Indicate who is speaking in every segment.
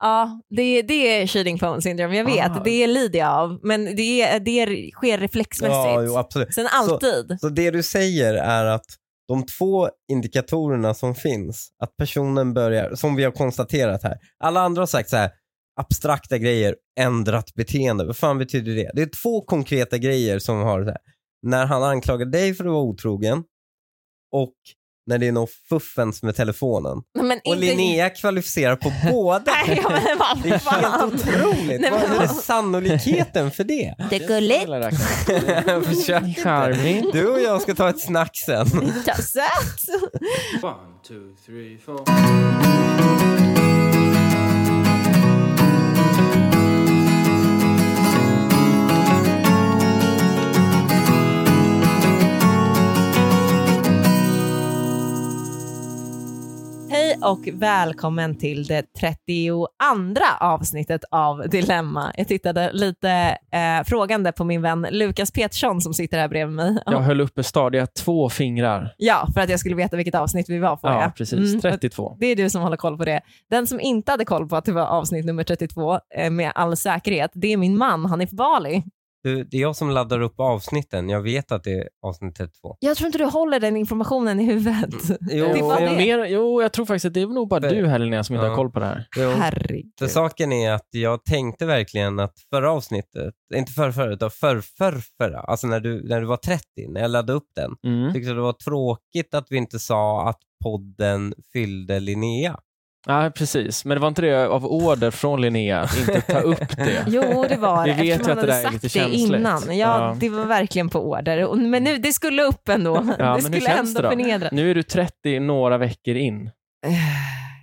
Speaker 1: Ja, det, det är cheating phone syndrome, jag vet.
Speaker 2: Ah.
Speaker 1: Det lider jag av. Men det, är- det sker
Speaker 2: Ja,
Speaker 1: reflexmässigt.
Speaker 2: jo, absolut.
Speaker 1: Sen alltid.
Speaker 2: Så det du säger är att de två indikatorerna som finns, att personen börjar, som vi har konstaterat här, alla andra har sagt så här, abstrakta grejer, ändrat beteende, vad fan betyder det? Det är två konkreta grejer som har det här. När han anklagar dig för att vara otrogen och när det är något fuffens med telefonen.
Speaker 1: Men
Speaker 2: Och Linnea kvalificerar på båda.
Speaker 1: Nej, ja, men vad
Speaker 2: Det är helt
Speaker 1: fan.
Speaker 2: otroligt.
Speaker 1: Nej, men
Speaker 2: Vad
Speaker 1: vad-
Speaker 2: är sannolikheten för det?
Speaker 1: Det är gulligt.
Speaker 2: Försök
Speaker 3: Charmigt.
Speaker 2: inte. Du och jag ska ta ett snack sen.
Speaker 1: Ja, Söt.
Speaker 3: One, two, three, four.
Speaker 1: Hej och välkommen till det 32 avsnittet av Dilemma. Jag tittade lite eh, frågande på min vän Lukas Petersson som sitter här bredvid mig.
Speaker 3: Jag höll uppe stadiga två fingrar.
Speaker 1: Ja, för att jag skulle veta vilket avsnitt vi var på.
Speaker 3: Ja, precis.
Speaker 1: Mm.
Speaker 3: 32.
Speaker 1: Det är du som håller koll på det. Den som inte hade koll på att det var avsnitt nummer 32 eh, med all säkerhet, det är min man Hanif Bali.
Speaker 2: Du, det är jag som laddar upp avsnitten. Jag vet att det är avsnitt 32.
Speaker 1: Jag tror inte du håller den informationen i
Speaker 3: Mm.
Speaker 1: huvudet.
Speaker 2: Jo,
Speaker 1: Typ det var
Speaker 3: Och
Speaker 1: det.
Speaker 3: mer, jo, jag tror faktiskt att det är nog bara
Speaker 2: För-
Speaker 3: du här Linnea som inte
Speaker 2: Ja.
Speaker 3: har koll på det här.
Speaker 2: Jo.
Speaker 1: Herregud.
Speaker 2: För saken är att jag tänkte verkligen att förra avsnittet, inte förra förra, utan förr, förr, förra, alltså när du, när du var 30, när jag laddade upp den,
Speaker 3: Mm.
Speaker 2: tyckte jag det var tråkigt att vi inte sa att podden fyllde Linnea.
Speaker 3: Ja, precis. Men det var inte det av order från Linnea att inte ta upp det.
Speaker 1: Jo, det var
Speaker 3: Vi
Speaker 1: det.
Speaker 3: vet ju
Speaker 1: Eftersom
Speaker 3: att
Speaker 1: han hade
Speaker 3: det där är
Speaker 1: sagt
Speaker 3: lite
Speaker 1: det
Speaker 3: känsligt.
Speaker 1: innan. Ja,
Speaker 3: Ja.
Speaker 1: det var verkligen på order. Och- Men nu, det skulle upp ändå.
Speaker 3: men hur
Speaker 1: det skulle
Speaker 3: känns
Speaker 1: ändå
Speaker 3: det då?
Speaker 1: förnedra.
Speaker 3: Nu är du 30 några veckor in.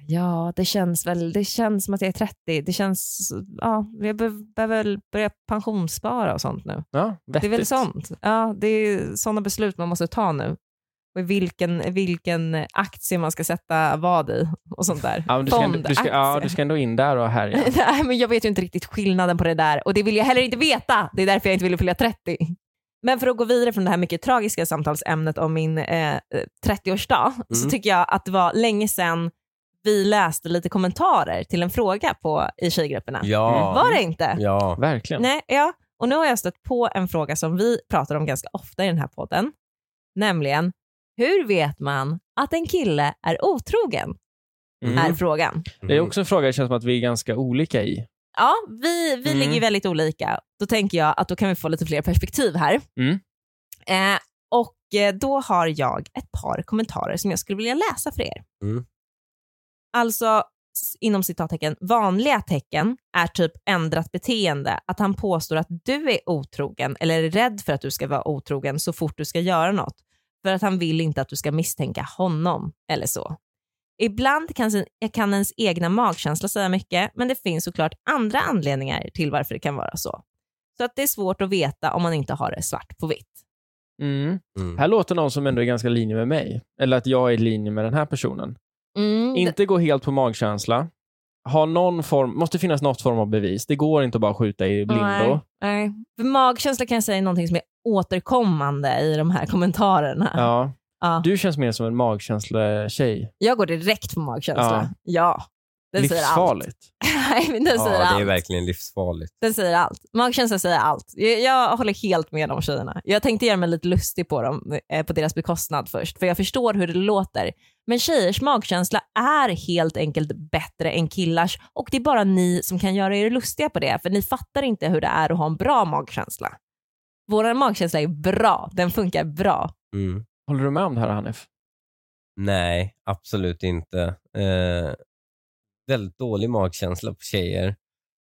Speaker 1: Ja, det känns väl. Det känns som att jag är 30. Det känns, ja, jag be- behöver väl börja pensionsspara och sånt nu.
Speaker 3: Ja,
Speaker 1: Det är väl
Speaker 3: vettigt.
Speaker 1: sånt. Ja, det är sådana beslut man måste ta nu. Och i vilken, vilken aktie man ska sätta vad i och sånt där.
Speaker 3: Ja, men du, ska, ändå- du, ska, ja, du ska ändå in där och härja.
Speaker 1: Nej, men jag vet ju inte riktigt skillnaden på det där och det vill jag heller inte veta. Det är därför jag inte ville fylla 30. Men för att gå vidare från det här mycket tragiska samtalsämnet om min eh, eh, 30-årsdag så
Speaker 2: Mm.
Speaker 1: tycker jag att det var länge sedan vi läste lite kommentarer till en fråga på, i tjejgrupperna.
Speaker 2: Ja.
Speaker 1: Var det inte?
Speaker 2: Ja.
Speaker 3: Verkligen.
Speaker 1: Nej, ja. Och nu har jag stött på en fråga som vi pratar om ganska ofta i den här podden, nämligen hur vet man att en kille är otrogen?
Speaker 3: Mm.
Speaker 1: Är frågan.
Speaker 3: Det är också en fråga det känns som att vi är ganska olika i.
Speaker 1: Ja, vi, vi
Speaker 2: Mm.
Speaker 1: ligger ju väldigt olika. Då tänker jag att då kan vi få lite fler perspektiv här.
Speaker 3: Mm.
Speaker 1: Eh, och eh, då har jag ett par kommentarer som jag skulle vilja läsa för er.
Speaker 2: Mm.
Speaker 1: Alltså, s- inom citattecken, vanliga tecken är typ ändrat beteende, att han påstår att du är otrogen eller är rädd för att du ska vara otrogen så fort du ska göra något, för att han vill inte att du ska misstänka honom eller så. Ibland kan, sin, kan ens egna magkänsla säga mycket, men det finns såklart andra anledningar till varför det kan vara så. Så att det är svårt att veta om man inte har det svart på vitt.
Speaker 3: Mm.
Speaker 2: Mm.
Speaker 3: Här låter någon som ändå är ganska i linje med mig. Eller att jag är i linje med den här personen.
Speaker 1: Mm, det-
Speaker 3: Inte gå helt på magkänsla. Ha någon form, måste finnas något form av bevis. Det går inte att bara skjuta i blindo.
Speaker 1: Nej, nej. För magkänsla kan jag säga är någonting som är återkommande i de här kommentarerna.
Speaker 3: Ja.
Speaker 1: Ja.
Speaker 3: Du känns mer som en magkänsla-tjej.
Speaker 1: Jag går direkt på magkänsla. Ja. Den säger allt.
Speaker 3: Livsfarligt.
Speaker 1: Nej, men den,
Speaker 2: Ja,
Speaker 1: säger
Speaker 2: det är
Speaker 1: allt.
Speaker 2: verkligen livsfarligt.
Speaker 1: den säger allt. Magkänsla säger allt. Jag, jag håller helt med de tjejerna. Jag tänkte göra mig lite lustig på dem, eh, på deras bekostnad först, för jag förstår hur det låter. Men tjejers magkänsla är helt enkelt bättre än killars och det är bara ni som kan göra er lustiga på det, för ni fattar inte hur det är att ha en bra magkänsla. Vår magkänsla är bra, den funkar bra.
Speaker 2: Mm.
Speaker 3: Håller du med om det här Hanif?
Speaker 2: Nej, absolut inte. Eh, väldigt dålig magkänsla på tjejer.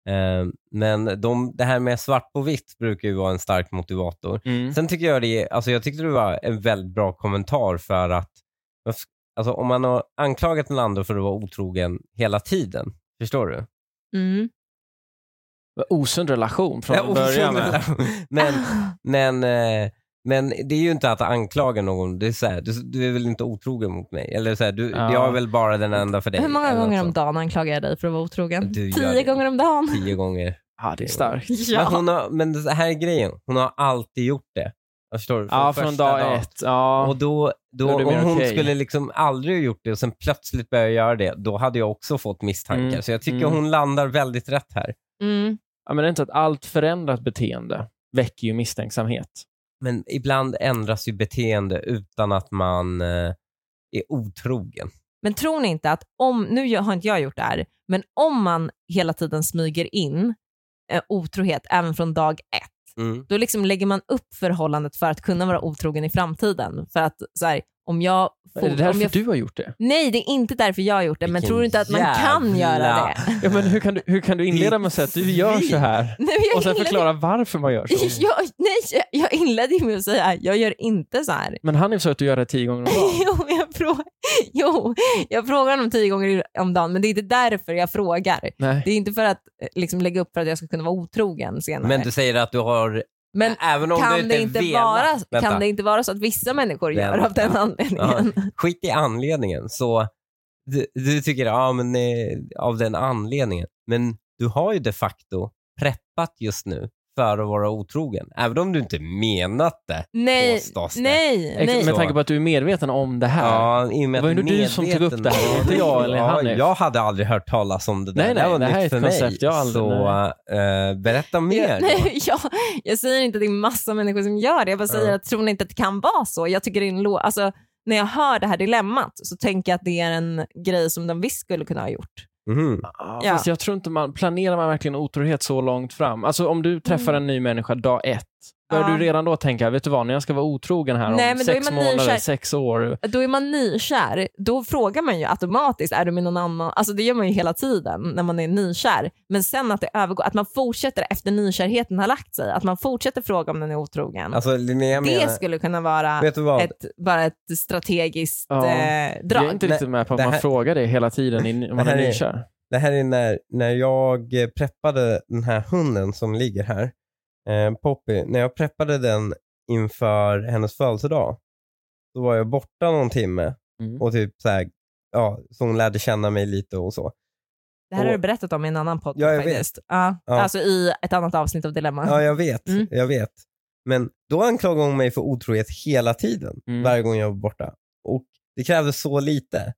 Speaker 2: Eh, men de, det här med svart på vitt brukar ju vara en stark motivator.
Speaker 3: Mm.
Speaker 2: Sen tycker jag det, alltså jag tyckte det var en väldigt bra kommentar för att alltså om man har anklagat den andra för att vara otrogen hela tiden, förstår du?
Speaker 1: Mm.
Speaker 3: Vad Osund relation från
Speaker 2: Ja, och-
Speaker 3: början.
Speaker 2: men,
Speaker 1: Ah,
Speaker 2: men, eh, men det är ju inte att anklaga någon. Det är så här, du, du är väl inte otrogen mot mig? Eller så här, du,
Speaker 3: Ja.
Speaker 2: Jag är väl bara den enda för dig.
Speaker 1: Hur många
Speaker 2: eller
Speaker 1: gånger
Speaker 2: något
Speaker 1: om dagen anklagar jag dig för att vara otrogen?
Speaker 2: Du gör
Speaker 1: Tio
Speaker 2: det.
Speaker 1: gånger om dagen.
Speaker 2: sånt. Tio gånger.
Speaker 3: Ja, det är starkt.
Speaker 2: Men,
Speaker 1: Ja.
Speaker 2: hon har, men det här är grejen, hon har alltid gjort det. Jag förstår du?
Speaker 3: Ja, från
Speaker 2: första
Speaker 3: dag
Speaker 2: dagen.
Speaker 3: ett. Ja.
Speaker 2: Och då, då,
Speaker 3: Då är det
Speaker 2: om
Speaker 3: mer
Speaker 2: hon
Speaker 3: okej.
Speaker 2: skulle liksom aldrig ha gjort det och sen plötsligt börja göra det, då hade jag också fått misstankar.
Speaker 3: Mm,
Speaker 2: Så jag tycker
Speaker 3: mm.
Speaker 2: hon landar väldigt rätt här.
Speaker 1: Mm.
Speaker 3: Ja, men det är inte att allt förändrat beteende väcker ju misstänksamhet.
Speaker 2: Men ibland ändras ju beteende utan att man eh, är otrogen.
Speaker 1: Men tror ni inte att om, nu gör- har inte jag gjort det här, men om man hela tiden smyger in eh, otrohet även från dag ett,
Speaker 3: Mm.
Speaker 1: då liksom lägger man upp förhållandet för att kunna vara otrogen i framtiden. För att så här, om jag...
Speaker 3: är det
Speaker 1: om
Speaker 3: därför
Speaker 1: jag
Speaker 3: du har gjort det?
Speaker 1: Nej, det är inte därför jag har gjort det, men
Speaker 2: Vilken
Speaker 1: tror du inte att man kan
Speaker 2: jävla-
Speaker 1: göra det?
Speaker 3: Ja, men hur, kan du, hur kan du inleda med att säga att du gör så här
Speaker 1: Nej, men jag
Speaker 3: och sen
Speaker 1: inledde-
Speaker 3: förklara varför man gör så?
Speaker 1: Jag, nej, jag- jag inledde ju med att säga jag gör inte så här.
Speaker 3: Men Hanif sa att du gör det tio gånger om dagen.
Speaker 1: Jo, men jag, frå- jo, jag frågar honom tio gånger i- om dagen, men det är inte därför jag frågar.
Speaker 3: Nej.
Speaker 1: Det är inte för att eh, liksom, lägga upp för att jag ska kunna vara otrogen senare.
Speaker 2: Men du säger att du har,
Speaker 1: Men
Speaker 2: även om du
Speaker 1: kan,
Speaker 2: inte,
Speaker 1: det inte
Speaker 2: velat-
Speaker 1: vara,
Speaker 2: Vänta.
Speaker 1: kan det inte vara så att vissa människor gör
Speaker 2: Vänta.
Speaker 1: av den anledningen?
Speaker 2: skit i anledningen. Så du, du tycker, ja men eh, av den anledningen. Men du har ju de facto preppat just nu för att vara otrogen. Även om du inte menat det.
Speaker 1: Nej,
Speaker 2: Påstås det.
Speaker 1: Eh, nej,
Speaker 3: Ex-
Speaker 1: nej.
Speaker 3: Med tanke på att du är medveten om det här.
Speaker 2: Ja, i och med
Speaker 3: Det var
Speaker 2: att
Speaker 3: ju du som
Speaker 2: medveten-
Speaker 3: tog upp det här, inte jag eller
Speaker 2: ja,
Speaker 3: Hanif.
Speaker 2: Jag hade aldrig hört talas om det där.
Speaker 3: Nej, nej,
Speaker 2: det var
Speaker 3: det här
Speaker 2: nytt
Speaker 3: är ett
Speaker 2: för mig.
Speaker 3: koncept jag aldrig-
Speaker 2: Så eh, berätta mer. då.
Speaker 1: Nej, jag, jag säger inte att det är massa människor som gör det. Jag bara säger
Speaker 2: Ja.
Speaker 1: att tror ni inte att det kan vara så? Jag tycker det är en lå- alltså, när jag hör det här dilemmat så tänker jag att det är en grej som de visst skulle kunna ha gjort.
Speaker 2: Mhm.
Speaker 3: Ja,
Speaker 1: Ja.
Speaker 3: Fast jag tror inte man, planerar man verkligen otrohet så långt fram? Alltså om du träffar en ny människa dag ett, bör
Speaker 1: Mm. Ja.
Speaker 3: du redan då tänka, vet du vad, när jag ska vara otrogen här
Speaker 1: Nej, men
Speaker 3: om
Speaker 1: då
Speaker 3: sex
Speaker 1: är man
Speaker 3: månader,
Speaker 1: nykär.
Speaker 3: sex år.
Speaker 1: Då är man nykär. Då frågar man ju automatiskt, är du med någon annan? Alltså det gör man ju hela tiden när man är nykär. Men sen att det övergår, att man fortsätter efter nykärheten har lagt sig, att man fortsätter fråga om den är otrogen.
Speaker 2: Alltså Linnea menar,
Speaker 1: det skulle kunna vara
Speaker 2: vet du vad?
Speaker 1: ett, bara ett strategiskt
Speaker 3: Ja.
Speaker 1: eh,
Speaker 3: Jag
Speaker 1: drag.
Speaker 3: är inte
Speaker 2: Nej,
Speaker 3: riktigt med på att
Speaker 2: det
Speaker 3: man
Speaker 2: här-
Speaker 3: frågar det hela tiden in- om man
Speaker 2: Det här
Speaker 3: är
Speaker 2: är-
Speaker 3: nykär.
Speaker 2: Det här är när, när jag eh, preppade den här hunden som ligger här, eh, Poppy. När jag preppade den inför hennes födelsedag, då var jag borta någon timme
Speaker 3: Mm.
Speaker 2: och typ så här, ja, så hon lärde känna mig lite och så.
Speaker 1: Det här har du berättat om i en annan podd
Speaker 2: Ja, jag
Speaker 1: faktiskt. Ja,
Speaker 2: Ja.
Speaker 1: Alltså i ett annat avsnitt av Dilemma.
Speaker 2: Ja, jag vet.
Speaker 1: Mm.
Speaker 2: Jag vet. Men då anklagade hon mig för otrohet hela tiden,
Speaker 3: Mm.
Speaker 2: varje gång jag var borta. Och det krävdes så lite.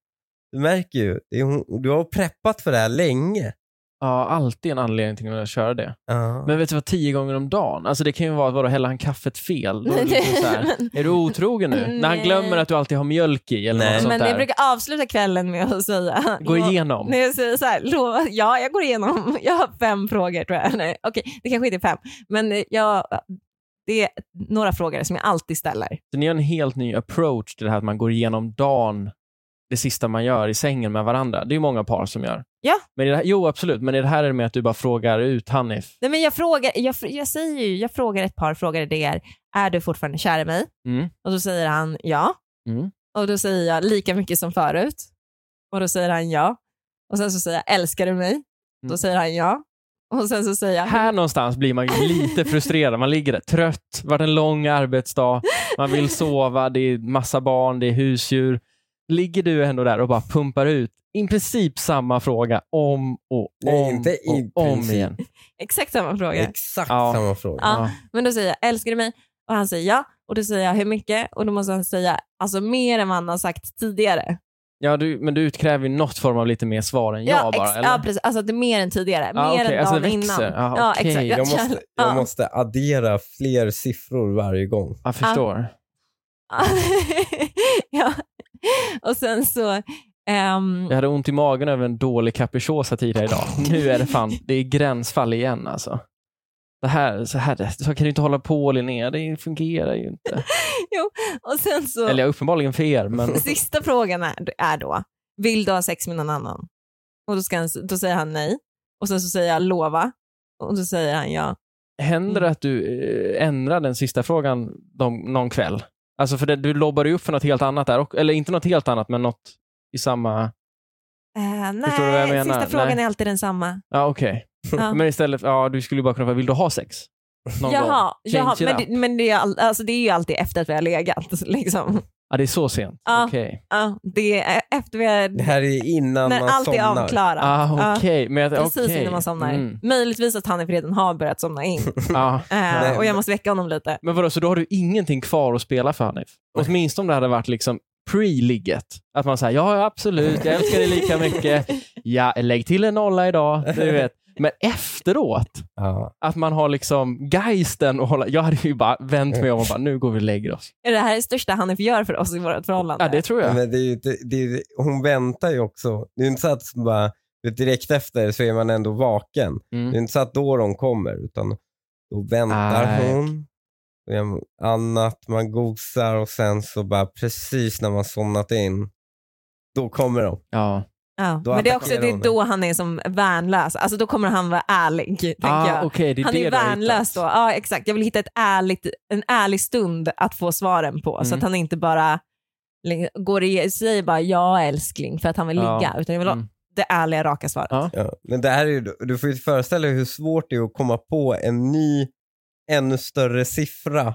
Speaker 2: Du märker ju, det är hon, du har preppat för det här länge.
Speaker 3: Ja, alltid en anledning till att vilja köra det.
Speaker 2: Ja.
Speaker 3: Men vet du vad, tio gånger om dagen? Alltså det kan ju vara, vadå, häller han kaffet fel? Då är, det liksom så här,
Speaker 1: Men-
Speaker 3: är du otrogen nu? När han
Speaker 1: Nej.
Speaker 3: glömmer att du alltid har mjölk i eller
Speaker 2: Nej.
Speaker 3: något sånt
Speaker 1: Men jag
Speaker 3: där.
Speaker 1: brukar avsluta kvällen med att säga...
Speaker 3: Gå igenom.
Speaker 1: När jag säger så här, lova, ja jag går igenom, jag har fem frågor tror jag. Nej, okej, det kanske inte är fem. Men eh, jag, det är några frågor som jag alltid ställer.
Speaker 3: Så ni har en helt ny approach till det här att man går igenom dagen, det sista man gör i sängen med varandra. Det är ju många par som gör.
Speaker 1: Ja.
Speaker 3: Men i det här, jo, absolut. Men i det här är det med att du bara frågar ut Hanif.
Speaker 1: Nej, men jag, frågar, jag, fr- jag säger ju, jag frågar ett par frågor, det är, är du fortfarande kär i mig?
Speaker 3: Mm.
Speaker 1: Och då säger han ja.
Speaker 3: Mm.
Speaker 1: Och då säger jag lika mycket som förut. Och då säger han ja. Och sen så säger jag älskar du mig? Då säger han ja. Och sen så säger jag
Speaker 3: Mm. Här någonstans blir man ju lite frustrerad. Man ligger där trött, varit en lång arbetsdag, man vill sova, det är massa barn, det är husdjur. Ligger du ändå där och bara pumpar ut i princip samma fråga om och om
Speaker 2: Nej, inte i
Speaker 3: och om
Speaker 2: princip.
Speaker 3: igen.
Speaker 1: exakt samma fråga.
Speaker 2: Exakt
Speaker 3: Ja.
Speaker 2: samma fråga.
Speaker 1: Ja. Men då säger jag älskar du mig? Och han säger ja. Och då säger jag hur mycket? Och då måste han säga alltså mer än vad han har sagt tidigare.
Speaker 3: Ja, du, men du utkräver ju något form av lite mer svar än jag bara,
Speaker 1: ex-
Speaker 3: eller?
Speaker 1: ja precis. Alltså det är mer än tidigare.
Speaker 3: Ja,
Speaker 1: mer
Speaker 3: okej.
Speaker 1: än
Speaker 3: Alltså,
Speaker 1: dagen
Speaker 3: det
Speaker 1: innan.
Speaker 3: växer. Ja,
Speaker 1: ja,
Speaker 3: okej.
Speaker 1: exakt.
Speaker 3: Jag
Speaker 2: Jag måste, jag
Speaker 1: Ja.
Speaker 2: måste addera fler siffror varje gång.
Speaker 3: Jag förstår.
Speaker 1: ja. Och sen så... ehm,
Speaker 3: Jag hade ont i magen över en dålig capricciosa tidigare idag. Nu är det fan, det är gränsfall igen alltså. Det här, så här, så kan du inte hålla på Linnea, det fungerar ju inte.
Speaker 1: och sen så...
Speaker 3: Eller ja, uppenbarligen för er, men
Speaker 1: Sista frågan är, är då, vill du ha sex med någon annan? Och då, ska han, då säger han nej. Och sen så säger jag lova. Och då säger han ja.
Speaker 3: händer det att du eh, ändrar den sista frågan de, någon kväll? Alltså för det, du lobbar ju upp för något helt annat där, och, eller inte något helt annat, men något i samma...
Speaker 1: Eh, nej,
Speaker 3: Förstår du vad jag menar?
Speaker 1: sista frågan
Speaker 3: Nej.
Speaker 1: är alltid densamma.
Speaker 3: Ja, okej.
Speaker 1: Ja.
Speaker 3: Men istället, ja, du skulle ju bara kunna vara, vill du ha sex? Någon gång?
Speaker 1: Jaha,
Speaker 3: Change
Speaker 1: jaha
Speaker 3: it
Speaker 1: men,
Speaker 3: up.
Speaker 1: det, men det, är all, alltså det är ju alltid efter att vi har legat. Liksom.
Speaker 3: Ja, det är så sent.
Speaker 1: Ja.
Speaker 3: Okej.
Speaker 1: Ja, det är e- efter vi har,
Speaker 2: Det här är innan
Speaker 1: när
Speaker 2: man
Speaker 1: allt
Speaker 2: somnar.
Speaker 1: är avklarat.
Speaker 3: Ah,
Speaker 1: Ja,
Speaker 3: okej. Men jag-
Speaker 1: Precis
Speaker 3: okej.
Speaker 1: innan man somnar.
Speaker 3: Mm.
Speaker 1: Möjligtvis att han redan har börjat somna in
Speaker 3: Ja.
Speaker 1: eh,
Speaker 2: Nej.
Speaker 1: och jag måste väcka honom lite.
Speaker 3: Men vadå, så då har du ingenting kvar att spela för Hanif? Åtminstone om det hade varit liksom pre-ligget. Att man säger ja, ja, absolut, jag älskar dig lika mycket. Ja, lägg till en nolla idag. Du vet. Men efteråt,
Speaker 2: Ja.
Speaker 3: att man har liksom geisten och hålla. Jag hade ju bara vänt mig om och bara, nu går vi och lägger oss.
Speaker 1: Är det här det största Hanif gör för oss i vårt förhållande?
Speaker 3: Ja, det tror jag.
Speaker 2: Men det är ju, inte- det är, hon väntar ju också. Det är inte så att bara, du vet, direkt efter så är man ändå vaken. Det är
Speaker 3: Mm.
Speaker 2: inte så att då de kommer, utan då väntar
Speaker 3: Nej.
Speaker 2: hon. Då gör man Annat, man gosar och sen så bara precis när man somnat in, då kommer de.
Speaker 3: Ja.
Speaker 1: Ja.
Speaker 2: Då
Speaker 1: Men det är också
Speaker 2: attackerar
Speaker 1: det är
Speaker 2: hon
Speaker 1: då han är som värnlös. Alltså då kommer han vara ärlig, tänker jag.
Speaker 3: Ah, okej, det är
Speaker 1: han
Speaker 3: det
Speaker 1: är
Speaker 3: du har
Speaker 1: värnlös
Speaker 3: hittat.
Speaker 1: då. Ja, exakt. Jag vill hitta ett ärligt, en ärlig stund att få svaren på så
Speaker 3: Mm.
Speaker 1: att han inte bara li- går i, säger bara ja älskling för att han vill
Speaker 3: Ja.
Speaker 1: ligga. Utan jag vill ha
Speaker 3: Mm.
Speaker 1: det ärliga raka svaret.
Speaker 3: Ja.
Speaker 2: Ja. Men det här är ju, du får ju föreställa dig hur svårt det är att komma på en ny, ännu större siffra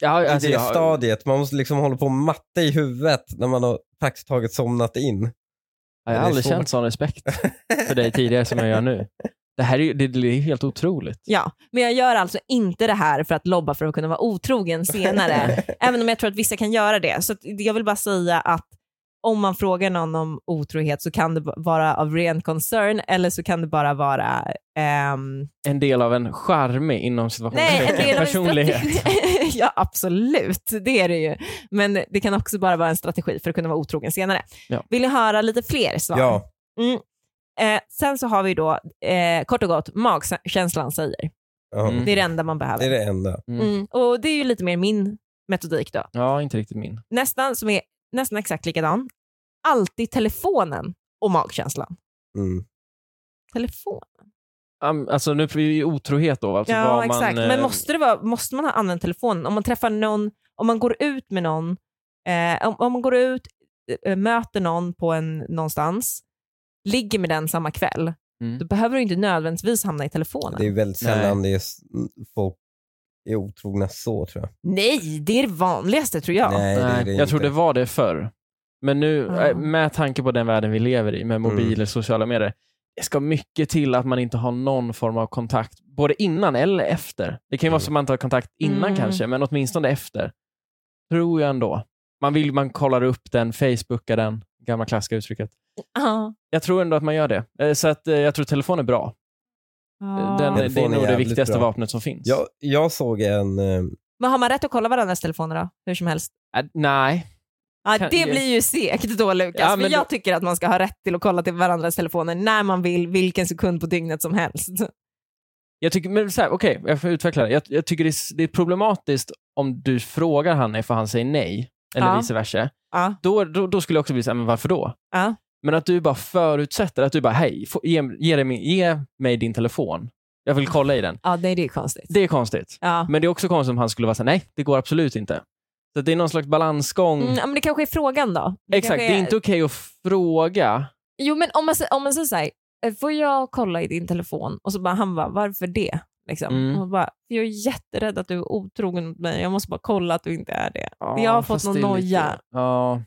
Speaker 3: Ja, alltså,
Speaker 2: i det
Speaker 3: jag-
Speaker 2: stadiet. Man måste liksom hålla på och matte i huvudet när man har praktiskt taget somnat in.
Speaker 3: Jag
Speaker 2: Det
Speaker 3: har
Speaker 2: är
Speaker 3: aldrig
Speaker 2: svårt.
Speaker 3: känt sån respekt för dig tidigare som jag gör nu. Det här är ju det, det är helt otroligt.
Speaker 1: Ja, men jag gör alltså inte det här för att lobba för att kunna vara otrogen senare, även om jag tror att vissa kan göra det. Så att jag vill bara säga att om man frågar någon om otrohet så kan det b- vara av ren concern eller så kan det bara vara ehm,
Speaker 3: En del av en charmig inom
Speaker 1: nej, en
Speaker 3: situationstecken
Speaker 1: del av en
Speaker 3: personlighet.
Speaker 1: strategi. ja, absolut, det är det ju. Men det kan också bara vara en strategi för att kunna vara otrogen senare.
Speaker 3: Ja.
Speaker 1: Vill ni höra lite fler svar?
Speaker 2: Ja,
Speaker 1: Eh, sen så har vi då eh, kort och gott magkänslan säger.
Speaker 2: ja.
Speaker 3: Mm.
Speaker 1: Det är det enda man behöver.
Speaker 2: det är det enda.
Speaker 3: Mm.
Speaker 1: Mm. Och det är ju lite mer min metodik då.
Speaker 3: Ja, inte riktigt min.
Speaker 1: Nästan, som är nästan exakt likadan. Alltid telefonen och magkänslan.
Speaker 2: Mm.
Speaker 1: Telefon.
Speaker 3: Am- Alltså nu är vi i otrohet då. Alltså, vad
Speaker 1: Ja,
Speaker 3: man,
Speaker 1: exakt.
Speaker 3: eh,
Speaker 1: Men måste, det vara, måste man ha använt telefonen? Om man träffar någon, om man går ut med någon, eh, om, om man går ut, eh, möter någon på en, någonstans, ligger med den samma kväll,
Speaker 3: Mm.
Speaker 1: då behöver du inte nödvändigtvis hamna i telefonen.
Speaker 2: Det är väldigt sällan det är s- mm, folk är otrogna så tror jag.
Speaker 1: Nej, det är det vanligaste tror jag.
Speaker 2: Nej, det är
Speaker 3: Nej,
Speaker 2: det
Speaker 3: jag tror
Speaker 2: inte.
Speaker 3: det var det förr. Men nu,
Speaker 1: Ja.
Speaker 3: eh, med tanke på den världen vi lever i med mobiler,
Speaker 2: Mm.
Speaker 3: sociala medier, det ska mycket till att man inte har någon form av kontakt, både innan eller efter. Det kan ju vara
Speaker 2: Mm.
Speaker 3: så att man inte har kontakt innan
Speaker 1: Mm.
Speaker 3: kanske, men åtminstone efter. Tror jag ändå. Man vill, man kollar upp den, facebookar den, gamla klassiska uttrycket.
Speaker 1: Ja.
Speaker 3: Jag tror ändå att man gör det. Eh, Så att eh, jag tror telefon är bra. Eh, Den, det är
Speaker 2: Telefon är
Speaker 3: nog det
Speaker 2: jävligt
Speaker 3: viktigaste
Speaker 2: bra.
Speaker 3: vapnet som finns.
Speaker 2: Jag, jag såg en, eh,
Speaker 1: Men har man rätt att kolla varandras telefoner då? Hur som helst.
Speaker 3: Eh, Nej,
Speaker 1: Ja,
Speaker 3: Kan-
Speaker 1: det blir ju segt då Lukas,
Speaker 3: Ja,
Speaker 1: för
Speaker 3: men
Speaker 1: jag
Speaker 3: då-
Speaker 1: tycker att man ska ha rätt till att kolla till varandras telefoner när man vill, vilken sekund på dygnet som helst.
Speaker 3: Jag tycker, men så här, okej, jag får utveckla det. Jag, jag tycker det är, det är problematiskt om du frågar Hanif och han säger nej, eller
Speaker 1: Ja.
Speaker 3: vice versa.
Speaker 1: Ja,
Speaker 3: Då, då, då skulle jag också bli såhär, men varför då?
Speaker 1: Ja.
Speaker 3: Men att du bara förutsätter, att du bara, hej, få, ge, ge, dig min, ge mig din telefon. Jag vill kolla i den.
Speaker 1: ja nej, det är konstigt.
Speaker 3: Det är konstigt.
Speaker 1: Ja.
Speaker 3: Men det är också konstigt om han skulle vara såhär, nej, det går absolut inte. Så det är någon slags balansgång.
Speaker 1: Mm, ja, men det kanske är frågan då. Det
Speaker 3: Exakt,
Speaker 1: kanske
Speaker 3: det är inte okej att fråga.
Speaker 1: Jo, men om man, sä- om man säger så här, "Eh, får jag kolla i din telefon? Och så bara, han bara, varför det? Liksom.
Speaker 3: Mm.
Speaker 1: Och hon bara, "För jag är jätterädd att du är otrogen mot mig, jag måste bara kolla att du inte är det. Jag har fått
Speaker 3: fast
Speaker 1: någon
Speaker 3: det är lite-
Speaker 1: noja.
Speaker 3: Ja,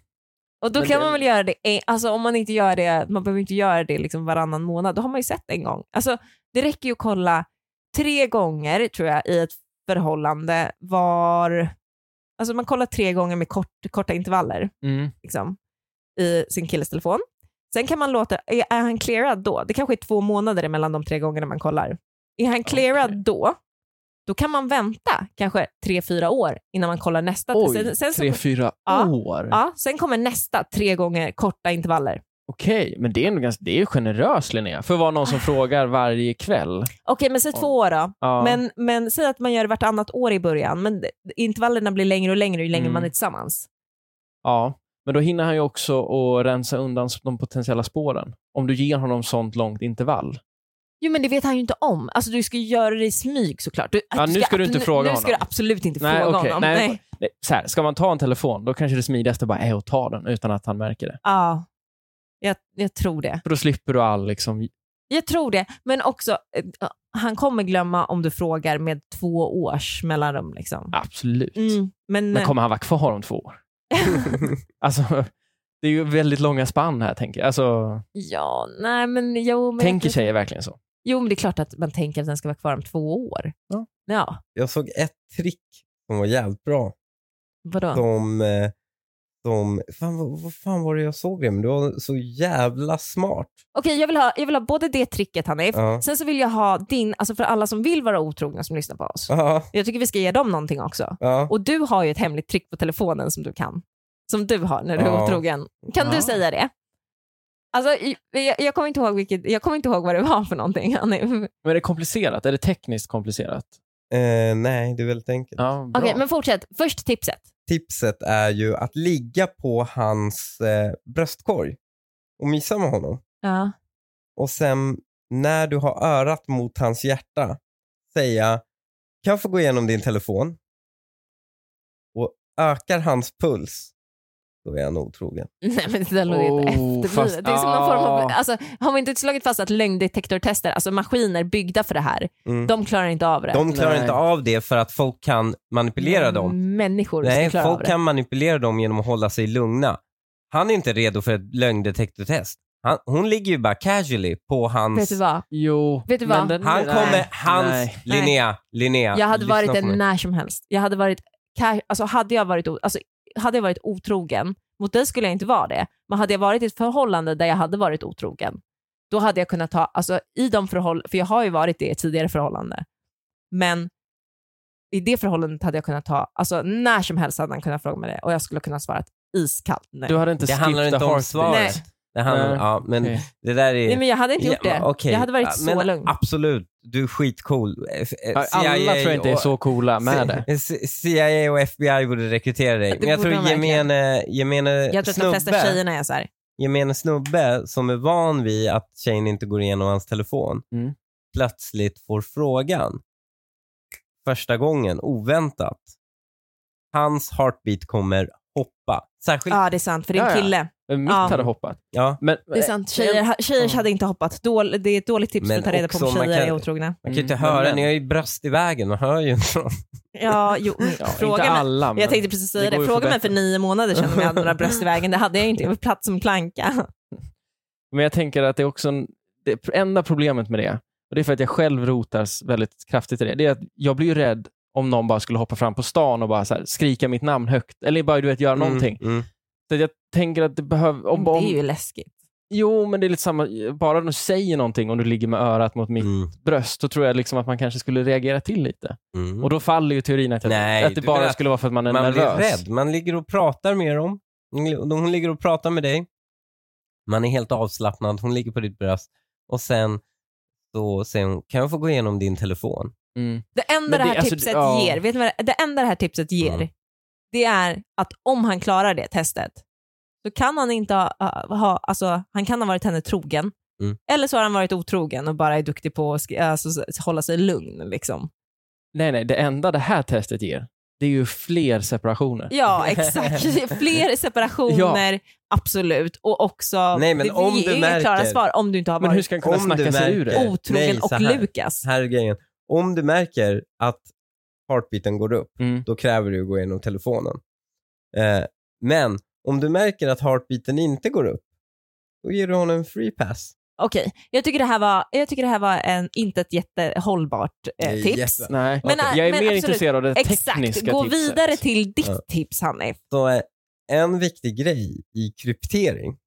Speaker 1: Och då
Speaker 3: Men
Speaker 1: kan
Speaker 3: det-
Speaker 1: man väl göra det, en- alltså om man inte gör det, man behöver inte göra det liksom varannan månad, då har man ju sett en gång. Alltså det räcker ju att kolla tre gånger tror jag i ett förhållande var, alltså man kollar tre gånger med kort, korta intervaller
Speaker 3: mm,
Speaker 1: liksom, i sin killes telefon. Sen kan man låta, är, är han clearad då? Det kanske är två månader mellan de tre gångerna man kollar. Är han clearad
Speaker 3: Okej.
Speaker 1: då, då kan man vänta kanske tre, fyra år innan man kollar nästa.
Speaker 3: oj,
Speaker 1: sen så-
Speaker 3: tre, fyra
Speaker 1: Ja.
Speaker 3: år.
Speaker 1: Ja, sen kommer nästa tre gånger korta intervaller.
Speaker 3: Okej, men det är, ändå ganska, det är generöst Linnea, för att vara någon som frågar varje kväll.
Speaker 1: Okej, men säg två år då.
Speaker 3: Ja.
Speaker 1: Men, men säg att man gör det vartannat år i början, men intervallerna blir längre och längre ju längre
Speaker 3: Mm.
Speaker 1: man är tillsammans.
Speaker 3: ja, men då hinner han ju också att rensa undan de potentiella spåren. Om du ger honom sånt långt intervall.
Speaker 1: Jo, men det vet han ju inte om. Alltså du ska ju göra det i smyg såklart. Du,
Speaker 3: Ja, nu ska du inte fråga
Speaker 1: Nu ska du
Speaker 3: honom.
Speaker 1: absolut inte
Speaker 3: Nej,
Speaker 1: fråga
Speaker 3: okej,
Speaker 1: honom.
Speaker 3: nej.
Speaker 1: Nej.
Speaker 3: Nej, Så här, ska man ta en telefon, då kanske det smidigaste bara är att ta den utan att han märker det.
Speaker 1: Ja, jag, jag tror det.
Speaker 3: För då slipper du all liksom...
Speaker 1: Jag tror det, men också eh, han kommer glömma om du frågar med två års mellanrum. Liksom.
Speaker 3: Absolut.
Speaker 1: Mm, men,
Speaker 3: Men kommer han vara kvar om två år? Alltså, det är ju väldigt långa spann här, tänker jag. Alltså,
Speaker 1: eh, Ja, nej men jo. Men
Speaker 3: tänker tjejer verkligen så?
Speaker 1: Jo, men det är klart att man tänker att den ska vara kvar om två år.
Speaker 2: Ja.
Speaker 1: ja
Speaker 2: Jag såg ett trick som var jävligt bra.
Speaker 1: vadå?
Speaker 2: Som, eh, som fan, vad, vad fan var det jag såg det? Men det var så jävla smart.
Speaker 1: Okej, jag vill, ha, jag vill ha både det tricket Hanif,
Speaker 2: Ja.
Speaker 1: sen så vill jag ha din, alltså för alla som vill vara otrogna som lyssnar på oss.
Speaker 2: Ja,
Speaker 1: Jag tycker vi ska ge dem någonting också.
Speaker 2: ja.
Speaker 1: Och du har ju ett hemligt trick på telefonen som du kan. Som du har när du är
Speaker 2: Ja.
Speaker 1: otrogen. Kan du
Speaker 3: Ja.
Speaker 1: säga det? Alltså, i- jag, jag, kommer inte ihåg vilket, jag kommer inte ihåg vad det var för någonting. Hanif. Okej,
Speaker 3: Men är det komplicerat? Är det tekniskt komplicerat?
Speaker 2: Eh, nej, det är väldigt enkelt.
Speaker 3: Ja, bra.
Speaker 1: men fortsätt. Först tipset.
Speaker 2: Tipset är ju att ligga på hans eh, bröstkorg och mysa med honom.
Speaker 1: Ja.
Speaker 2: Och sen när du har örat mot hans hjärta säga kan jag få gå igenom din telefon? Och ökar hans puls, då är han otrogen.
Speaker 1: Nej men det där låter
Speaker 3: Oh,
Speaker 1: oh, efterblivet.
Speaker 3: fast-
Speaker 1: det är som någon form av,
Speaker 3: ah.
Speaker 1: alltså, har vi inte slagit fast att lögndetektortester, alltså maskiner byggda för det här,
Speaker 2: Mm.
Speaker 1: de klarar inte av det.
Speaker 2: De klarar
Speaker 3: Nej.
Speaker 2: inte av det för att folk kan manipulera dem.
Speaker 1: Människor
Speaker 2: Nej,
Speaker 1: som klarar av
Speaker 2: folk
Speaker 1: det.
Speaker 2: kan manipulera dem genom att hålla sig lugna. Han är inte redo för ett lögndetektortest. Han, hon ligger ju bara casually på
Speaker 1: Vet
Speaker 2: hans...
Speaker 1: du vad?
Speaker 3: Jo.
Speaker 1: Vet du
Speaker 3: men
Speaker 1: vad?
Speaker 3: den-
Speaker 2: Han
Speaker 3: nej,
Speaker 2: kommer... Hans...
Speaker 3: nej.
Speaker 2: Linnea, Linnea.
Speaker 1: Jag hade
Speaker 2: lyssna
Speaker 1: varit
Speaker 2: på
Speaker 1: en
Speaker 2: mig.
Speaker 1: när som helst. Jag hade varit, ka- alltså, hade jag varit, o- alltså, hade jag varit otrogen, mot dig skulle jag inte vara det, men hade jag varit i ett förhållande där jag hade varit otrogen, då hade jag kunnat ta, alltså i de förhåll, för jag har ju varit det i ett tidigare förhållande, men i det förhållandet hade jag kunnat ta, alltså när som helst hade han kunnat fråga mig det och jag skulle kunna svara ett iskallt nej.
Speaker 3: Du hade inte
Speaker 2: Det
Speaker 3: skipped
Speaker 2: handlar inte
Speaker 3: the
Speaker 2: om
Speaker 3: heartbeat.
Speaker 2: svaret.
Speaker 1: Nej.
Speaker 2: Det handlar,
Speaker 3: Nej.
Speaker 2: ja, men
Speaker 3: Okej.
Speaker 2: det där är...
Speaker 1: Nej men jag hade inte gjort det.
Speaker 2: Ja, okej.
Speaker 1: Jag hade varit
Speaker 2: Ja,
Speaker 1: så
Speaker 2: men
Speaker 1: lugn.
Speaker 2: Absolut, du är skitcool. Eh, eh,
Speaker 3: Alla
Speaker 2: CIA
Speaker 3: tror jag inte är
Speaker 2: och-
Speaker 3: så coola med det.
Speaker 2: C- CIA och FBI borde rekrytera dig.
Speaker 1: Det
Speaker 2: Men jag
Speaker 1: borde
Speaker 2: tror
Speaker 1: de verkligen.
Speaker 2: gemene, gemene
Speaker 1: Jag tror att de flesta
Speaker 2: snubbe-
Speaker 1: tjejerna är så här.
Speaker 2: gemene snubbe som är van vid att tjejen inte går igenom hans telefon
Speaker 3: Mm.
Speaker 2: plötsligt får frågan första gången, oväntat. Hans heartbeat kommer hoppa. Särskilt,
Speaker 1: Ja "Ah, det är sant, för det är en
Speaker 3: Ja, ja.
Speaker 1: kille.
Speaker 3: Men Mitt
Speaker 1: Ja.
Speaker 3: hade hoppat.
Speaker 2: ja,
Speaker 3: Eh, Men,
Speaker 1: Det är sant, tjejer, ha- tjejer
Speaker 3: Ja.
Speaker 1: hade inte hoppat. Dål, det är ett dåligt tips för
Speaker 2: Men
Speaker 1: att ta reda på om
Speaker 2: också, man
Speaker 1: tjejer
Speaker 2: kan-
Speaker 1: är otrogna.
Speaker 2: man kan ju inte
Speaker 3: Mm, men-
Speaker 2: höra,
Speaker 3: men-
Speaker 2: ni har ju bröst i vägen, man hör ju inte. dem.
Speaker 1: Ja, jo,
Speaker 3: ja,
Speaker 1: fråga
Speaker 3: inte
Speaker 1: mig.
Speaker 3: alla, men...
Speaker 1: Jag tänkte precis
Speaker 3: det
Speaker 1: säga det.
Speaker 3: går ju att
Speaker 1: Fråga mig för
Speaker 3: förbättra.
Speaker 1: nio månader sedan om jag hade några bröst i vägen. Det hade jag inte. Jag var platt som planka.
Speaker 3: Men jag tänker att det är också en, det enda problemet med det, och det är för att jag själv rotas väldigt kraftigt i det, det är att jag blir ju rädd om någon bara skulle hoppa fram på stan och bara så här, skrika mitt namn högt. Eller bara du vet, göra någonting.
Speaker 2: Mm, mm.
Speaker 3: Så att jag tänker att det behöver... Om,
Speaker 1: Det är
Speaker 3: om,
Speaker 1: ju läskigt.
Speaker 3: jo, men det är lite samma. Bara du säger någonting om du ligger med örat mot mitt
Speaker 2: Mm,
Speaker 3: bröst, så tror jag liksom att man kanske skulle reagera till lite.
Speaker 2: mm.
Speaker 3: Och då faller ju teorin att, jag,
Speaker 2: Nej,
Speaker 3: att det
Speaker 2: du
Speaker 3: bara
Speaker 2: menar att
Speaker 3: skulle vara för att man är
Speaker 2: man
Speaker 3: nervös.
Speaker 2: blir rädd. Man ligger och pratar med dem. Hon ligger och pratar med dig. Man är helt avslappnad. Hon ligger på ditt bröst. Och sen så säger hon, kan jag få gå igenom din telefon?
Speaker 3: Mm.
Speaker 1: Det enda
Speaker 3: Men
Speaker 1: det,
Speaker 3: det-
Speaker 1: här
Speaker 3: alltså,
Speaker 1: tipset
Speaker 3: ja.
Speaker 1: ger, vet ni vad det, det enda det här tipset ger,
Speaker 2: Mm.
Speaker 1: det är att om han klarar det testet, så kan han inte ha, ha alltså han kan ha varit henne trogen.
Speaker 2: Mm.
Speaker 1: Eller så har han varit otrogen och bara är duktig på att sk- alltså, s- hålla sig lugn. Liksom.
Speaker 3: Nej, nej. Det enda det här testet ger, det är ju fler separationer.
Speaker 1: Ja, exakt. Fler separationer, absolut. Och också,
Speaker 2: Nej, men
Speaker 1: det
Speaker 2: om
Speaker 1: ger
Speaker 2: du
Speaker 1: ju inga
Speaker 2: märker-
Speaker 1: klara svar om du inte har
Speaker 3: Men hur
Speaker 1: varit
Speaker 3: ska han kunna
Speaker 2: Om du
Speaker 3: snacka sig ur
Speaker 2: märker-
Speaker 3: det?
Speaker 2: Nej,
Speaker 1: otrogen
Speaker 2: så
Speaker 1: och
Speaker 2: här.
Speaker 1: Lukas.
Speaker 2: Här är grejen. Om du märker att heartbeaten går upp,
Speaker 3: Mm.
Speaker 2: då kräver du att gå igenom telefonen. Eh, men om du märker att heartbeaten inte går upp, då ger du honom en free pass.
Speaker 1: Okej, jag tycker det här var, jag tycker det här var en, inte ett jättehållbart eh,
Speaker 2: Det är
Speaker 1: tips.
Speaker 2: jätte-
Speaker 3: Nej.
Speaker 1: Men,
Speaker 3: jag är mer
Speaker 1: men absolut.
Speaker 3: intresserad av det
Speaker 1: Exakt,
Speaker 3: tekniska
Speaker 1: gå
Speaker 3: tipset.
Speaker 1: vidare till ditt
Speaker 2: Ja.
Speaker 1: tips Hanif.
Speaker 2: Så eh, en viktig grej i kryptering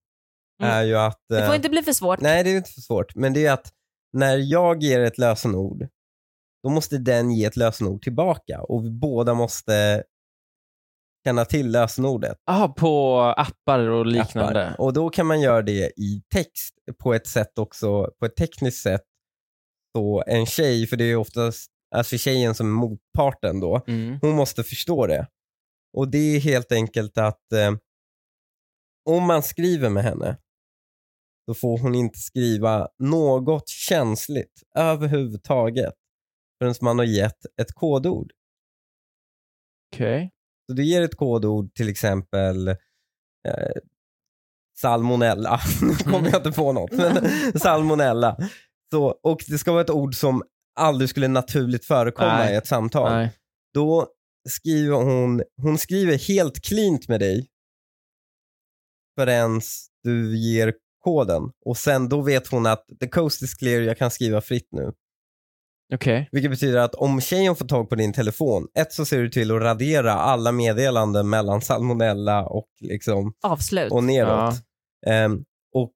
Speaker 1: Mm.
Speaker 2: är ju att...
Speaker 1: Det får
Speaker 2: eh,
Speaker 1: inte bli för svårt.
Speaker 2: Nej, det är inte för svårt. Men det är att när jag ger ett lösenord, då måste den ge ett lösenord tillbaka och vi båda måste känna till lösenordet.
Speaker 3: Ah, på appar och liknande.
Speaker 2: Appar. Och då kan man göra det i text på ett sätt också, på ett tekniskt sätt. Så en tjej, för det är oftast alltså tjejen som är motparten då,
Speaker 3: Mm.
Speaker 2: hon måste förstå det. Och det är helt enkelt att eh, om man skriver med henne då får hon inte skriva något känsligt överhuvudtaget förrän man har gett ett kodord.
Speaker 3: Okej.
Speaker 2: Så du ger ett kodord till exempel eh, salmonella. Nu kommer jag
Speaker 3: Mm.
Speaker 2: inte på något. Men salmonella. Så, och det ska vara ett ord som aldrig skulle naturligt förekomma
Speaker 3: Nej.
Speaker 2: i ett samtal.
Speaker 3: Nej.
Speaker 2: Då skriver hon, hon skriver helt klint med dig förrän du ger koden. Och sen då vet hon att the coast is clear, jag kan skriva fritt nu.
Speaker 3: Okej.
Speaker 2: Vilket betyder att om tjejen får tag på din telefon, ett så ser du till att radera alla meddelanden mellan salmonella och liksom
Speaker 1: Avslut.
Speaker 2: och neråt.
Speaker 3: Ja.
Speaker 2: Ehm, och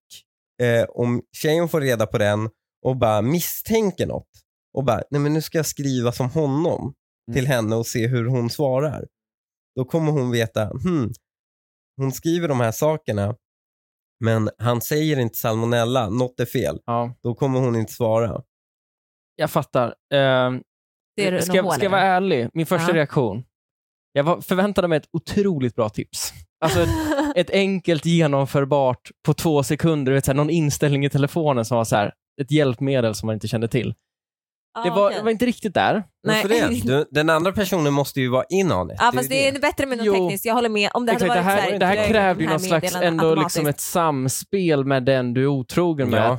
Speaker 2: eh, om tjejen får reda på den och bara misstänker något och bara, nej men nu ska jag skriva som honom till henne och se hur hon svarar. Då kommer hon veta, hmm, hon skriver de här sakerna men han säger inte salmonella, något är fel.
Speaker 3: Ja.
Speaker 2: Då kommer hon inte svara.
Speaker 3: Jag fattar. Ehm,
Speaker 1: det är
Speaker 3: ska, jag- ska jag vara ärlig? Min första
Speaker 1: Ja.
Speaker 3: reaktion. Jag var, förväntade mig ett otroligt bra tips. Alltså ett, ett enkelt genomförbart på två sekunder. Du Vet, så här, någon inställning i telefonen som var så här, ett hjälpmedel som man inte kände till.
Speaker 1: Ah,
Speaker 3: Det var, det var inte riktigt där.
Speaker 1: Nej.
Speaker 2: Varför det? Du, den andra personen måste ju vara in on it.
Speaker 1: Ja,
Speaker 2: Det
Speaker 1: fast
Speaker 2: ju
Speaker 1: det är bättre med något
Speaker 3: Jo.
Speaker 1: tekniskt. Jag håller med. Om det hade
Speaker 3: Exakt, det
Speaker 1: varit så
Speaker 3: här,
Speaker 1: här,
Speaker 3: det här
Speaker 1: direkt,
Speaker 3: krävde ju
Speaker 1: de här
Speaker 3: någon slags
Speaker 1: meddelandena
Speaker 3: ändå liksom
Speaker 1: automatiskt.
Speaker 3: ett samspel med den du är otrogen med.
Speaker 2: Ja.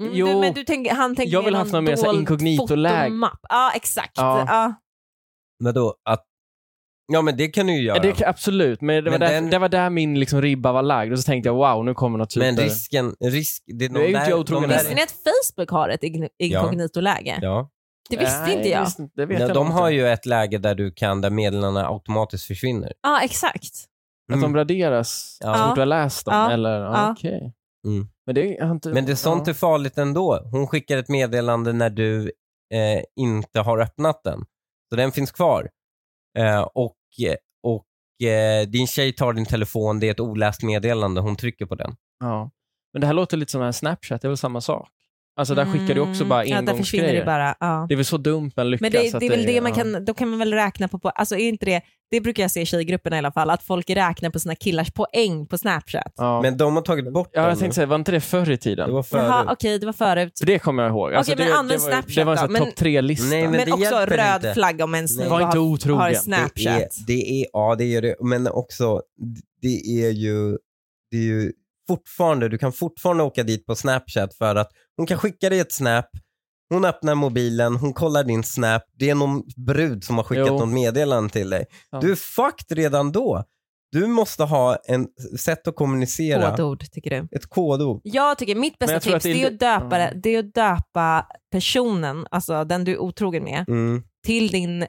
Speaker 1: Mm, du,
Speaker 3: jo,
Speaker 1: men du tänker, han tänker
Speaker 3: jag vill
Speaker 1: mer
Speaker 3: haft någon mer så här
Speaker 1: dold
Speaker 3: inkognito-läge.
Speaker 1: fotomapp. Ja, exakt.
Speaker 3: Ja.
Speaker 1: Ja.
Speaker 2: Men då att... Ja men det kan du ju göra.
Speaker 3: Ja, det, kan- absolut, men det var,
Speaker 2: Men
Speaker 3: där,
Speaker 2: den-
Speaker 3: det var där min liksom ribba var lagd och så tänkte jag wow, nu kommer något typ
Speaker 2: men
Speaker 3: där.
Speaker 2: risken... Risk, det är
Speaker 3: Nu är ju inte jag otrogen
Speaker 2: de
Speaker 3: heller.
Speaker 1: Visste ni att Facebook har ett ign- inkognito-läge?
Speaker 2: Ja.
Speaker 1: Det visste
Speaker 3: Nej,
Speaker 1: inte jag.
Speaker 3: visst inte. Det vet
Speaker 2: Nej,
Speaker 3: jag
Speaker 2: de
Speaker 3: nog
Speaker 2: har
Speaker 3: inte.
Speaker 2: ju ett läge där du kan, där meddelandena automatiskt försvinner.
Speaker 1: Ja, exakt.
Speaker 3: Att
Speaker 2: Mm.
Speaker 3: de raderas
Speaker 2: Ja.
Speaker 3: så
Speaker 1: Ja.
Speaker 3: fort du har läst dem?
Speaker 1: Ja.
Speaker 3: Eller, ja.
Speaker 1: Ja.
Speaker 3: okej.
Speaker 2: Mm.
Speaker 3: Men det har inte...
Speaker 2: Men det sånt
Speaker 3: ja.
Speaker 2: är farligt ändå. Hon skickar ett meddelande när du eh, inte har öppnat den. Så den finns kvar. Eh, och och eh, din tjej tar din telefon, det är ett oläst meddelande, hon trycker på den.
Speaker 3: Ja. Men det här låter lite som en Snapchat, det är väl samma sak? Alltså där skickar du också
Speaker 1: Mm. Ja,
Speaker 3: bara
Speaker 1: där försvinner
Speaker 3: engångsgrejer.
Speaker 1: det bara. Ja.
Speaker 3: det är väl så dumt man lyckas.
Speaker 1: Men det,
Speaker 3: att
Speaker 1: det är väl det man
Speaker 3: ja.
Speaker 1: kan, då kan man väl räkna på, på alltså är inte det, det brukar jag se i tjejgrupperna i alla fall, att folk räknar på sina killars poäng på Snapchat.
Speaker 3: Ja.
Speaker 2: Men de har tagit bort
Speaker 3: ja,
Speaker 2: den.
Speaker 3: jag tänkte säga, var inte det förr i tiden?
Speaker 2: det
Speaker 3: Det
Speaker 2: var förut.
Speaker 1: Jaha, okej, det var förut.
Speaker 3: För det kommer jag ihåg. Alltså,
Speaker 1: Okej, men
Speaker 3: det,
Speaker 1: använd
Speaker 3: det var, ju-
Speaker 1: Snapchat
Speaker 3: Det var en sån
Speaker 1: då,
Speaker 3: här
Speaker 1: men-
Speaker 3: topp tre-lista.
Speaker 2: Nej, men
Speaker 1: Men,
Speaker 2: det
Speaker 1: också
Speaker 2: hjälper
Speaker 1: röd
Speaker 2: inte.
Speaker 1: flagga om en snubbe
Speaker 3: var inte
Speaker 1: har,
Speaker 3: otrogen.
Speaker 1: har
Speaker 2: Det är,
Speaker 1: Snapchat.
Speaker 2: det är, ja, det gör det. Men också, det är ju, det är ju fortfarande, du kan fortfarande åka dit på Snapchat för att hon kan skicka dig ett Snap, hon öppnar mobilen, hon kollar din Snap, det är någon brud som har skickat
Speaker 3: Jo.
Speaker 2: något meddelande till dig.
Speaker 3: Ja.
Speaker 2: Du är fucked redan då. Du måste ha en sätt att kommunicera,
Speaker 1: Kodord, tycker du?
Speaker 2: ett kodord.
Speaker 1: Jag tycker mitt
Speaker 3: Men
Speaker 1: bästa
Speaker 3: jag tror
Speaker 1: tips
Speaker 3: att det är Mm.
Speaker 1: det är, att döpa, det, det är att döpa personen, alltså den du är otrogen med,
Speaker 2: Mm.
Speaker 1: till din, eh,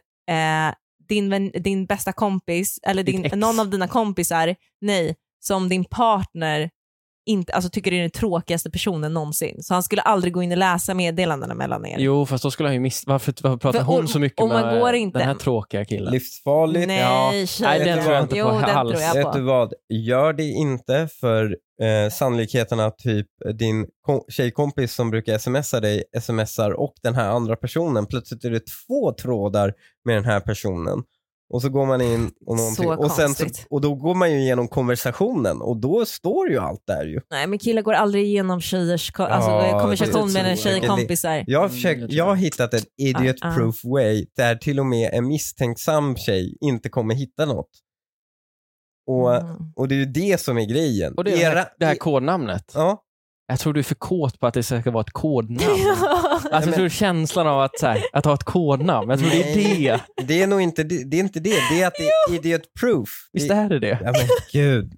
Speaker 1: din, vän, din bästa kompis eller
Speaker 3: Ditt
Speaker 1: din,
Speaker 3: ex.
Speaker 1: någon av dina kompisar, nej, som din partner inte, alltså tycker är den tråkigaste personen någonsin. Så han skulle aldrig gå in och läsa meddelandena mellan er.
Speaker 3: Jo, fast då skulle han ju miss... Varför, varför pratar
Speaker 1: För
Speaker 3: hon
Speaker 1: om-
Speaker 3: så mycket
Speaker 1: om man
Speaker 3: med
Speaker 1: går inte-
Speaker 3: den här tråkiga killen?
Speaker 2: Livsfarligt.
Speaker 1: Nej,
Speaker 3: Ja.
Speaker 1: tjej.
Speaker 3: Nej,
Speaker 2: den tror jag inte
Speaker 3: på
Speaker 1: jo, den
Speaker 3: alls.
Speaker 1: tror jag
Speaker 2: Vet
Speaker 1: på.
Speaker 2: du vad, gör det inte för eh, sannolikheten att typ din ko- tjejkompis som brukar smsa dig smsar och den här andra personen. Plötsligt är det två trådar med den här personen. Och så går man in och någonting.
Speaker 1: Så
Speaker 2: och, sen så,
Speaker 1: konstigt.
Speaker 2: och då går man ju igenom konversationen och då står ju allt där ju.
Speaker 1: Nej, men killar går aldrig igenom tjejers ko- alltså,
Speaker 2: Ja,
Speaker 1: eh,
Speaker 2: det
Speaker 1: konversation
Speaker 2: tror
Speaker 1: med en
Speaker 2: jag.
Speaker 1: tjejkompisar.
Speaker 2: Jag har,
Speaker 3: Mm,
Speaker 2: försökt,
Speaker 3: jag tror
Speaker 2: jag har
Speaker 3: det.
Speaker 2: hittat ett idiot proof way där till och med en misstänksam tjej inte kommer hitta något. Och,
Speaker 1: Mm.
Speaker 2: och det är ju det som är grejen.
Speaker 3: Och det, är det,
Speaker 2: Era-
Speaker 3: här, det här kodnamnet.
Speaker 2: ja.
Speaker 3: Jag tror du är för kåt på att det ska vara ett kodnamn.
Speaker 1: Ja.
Speaker 3: Alltså,
Speaker 2: men-
Speaker 3: jag tror känslan av att, så här, att ha ett kodnamn, jag tror det är
Speaker 2: Nej.
Speaker 3: det.
Speaker 2: Det är nog inte det, det, är inte det. det är att det är idiot proof.
Speaker 3: Visst är det det?
Speaker 2: Ja men gud.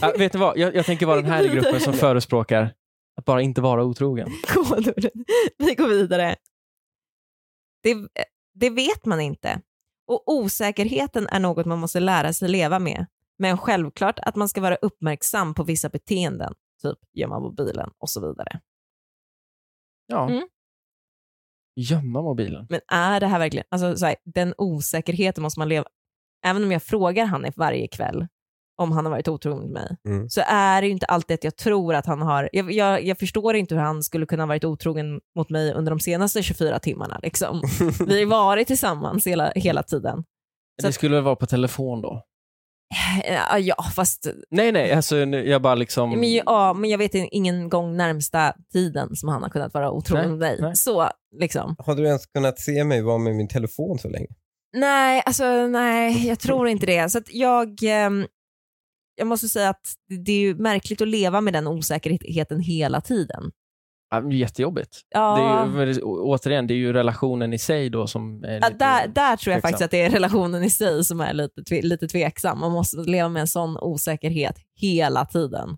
Speaker 3: Ja, vet ni vad? Jag, jag tänker vara den här i gruppen som förespråkar att bara inte vara otrogen.
Speaker 1: kodordet. Vi går vidare. Det, det vet man inte. Och osäkerheten är något man måste lära sig leva med. Men självklart att man ska vara uppmärksam på vissa beteenden. Typ gömma mobilen och så vidare.
Speaker 3: Ja.
Speaker 1: Mm.
Speaker 3: Gömma mobilen.
Speaker 1: Men är det här verkligen, alltså så här, den osäkerheten måste man leva. Även om jag frågar Hanif varje kväll om han har varit otrogen med mig,
Speaker 2: Mm.
Speaker 1: så är det ju inte alltid att jag tror att han har, jag, jag, jag förstår inte hur han skulle kunna ha varit otrogen mot mig under de senaste 24 timmarna liksom. Vi har ju varit tillsammans hela, hela tiden. Så
Speaker 3: det
Speaker 1: att-
Speaker 3: skulle väl vara på telefon då?
Speaker 1: Eh, Ja, fast
Speaker 3: Nej, nej, alltså, nu- jag bara liksom...
Speaker 1: men, ju- ja, men jag vet in- ingen gång närmsta tiden som han har kunnat vara otrogen
Speaker 3: Nej,
Speaker 1: mot mig.
Speaker 3: nej.
Speaker 1: Så liksom.
Speaker 2: Har du ens kunnat se mig vara med min telefon så länge?
Speaker 1: Nej, alltså nej, jag tror inte det. Så att jag, ehm, jag måste säga att det- det är ju märkligt att leva med den osäkerheten hela tiden.
Speaker 3: Ja, men det är jättejobbigt.
Speaker 1: Ja,
Speaker 3: Det är ju, men det- å- återigen, det är ju relationen i sig då som är
Speaker 1: ja,
Speaker 3: lite- liksom
Speaker 1: där, där tror jag
Speaker 3: tveksam.
Speaker 1: faktiskt att det är relationen i sig som är lite, tve, lite tveksam. Man måste leva med en sån osäkerhet hela tiden.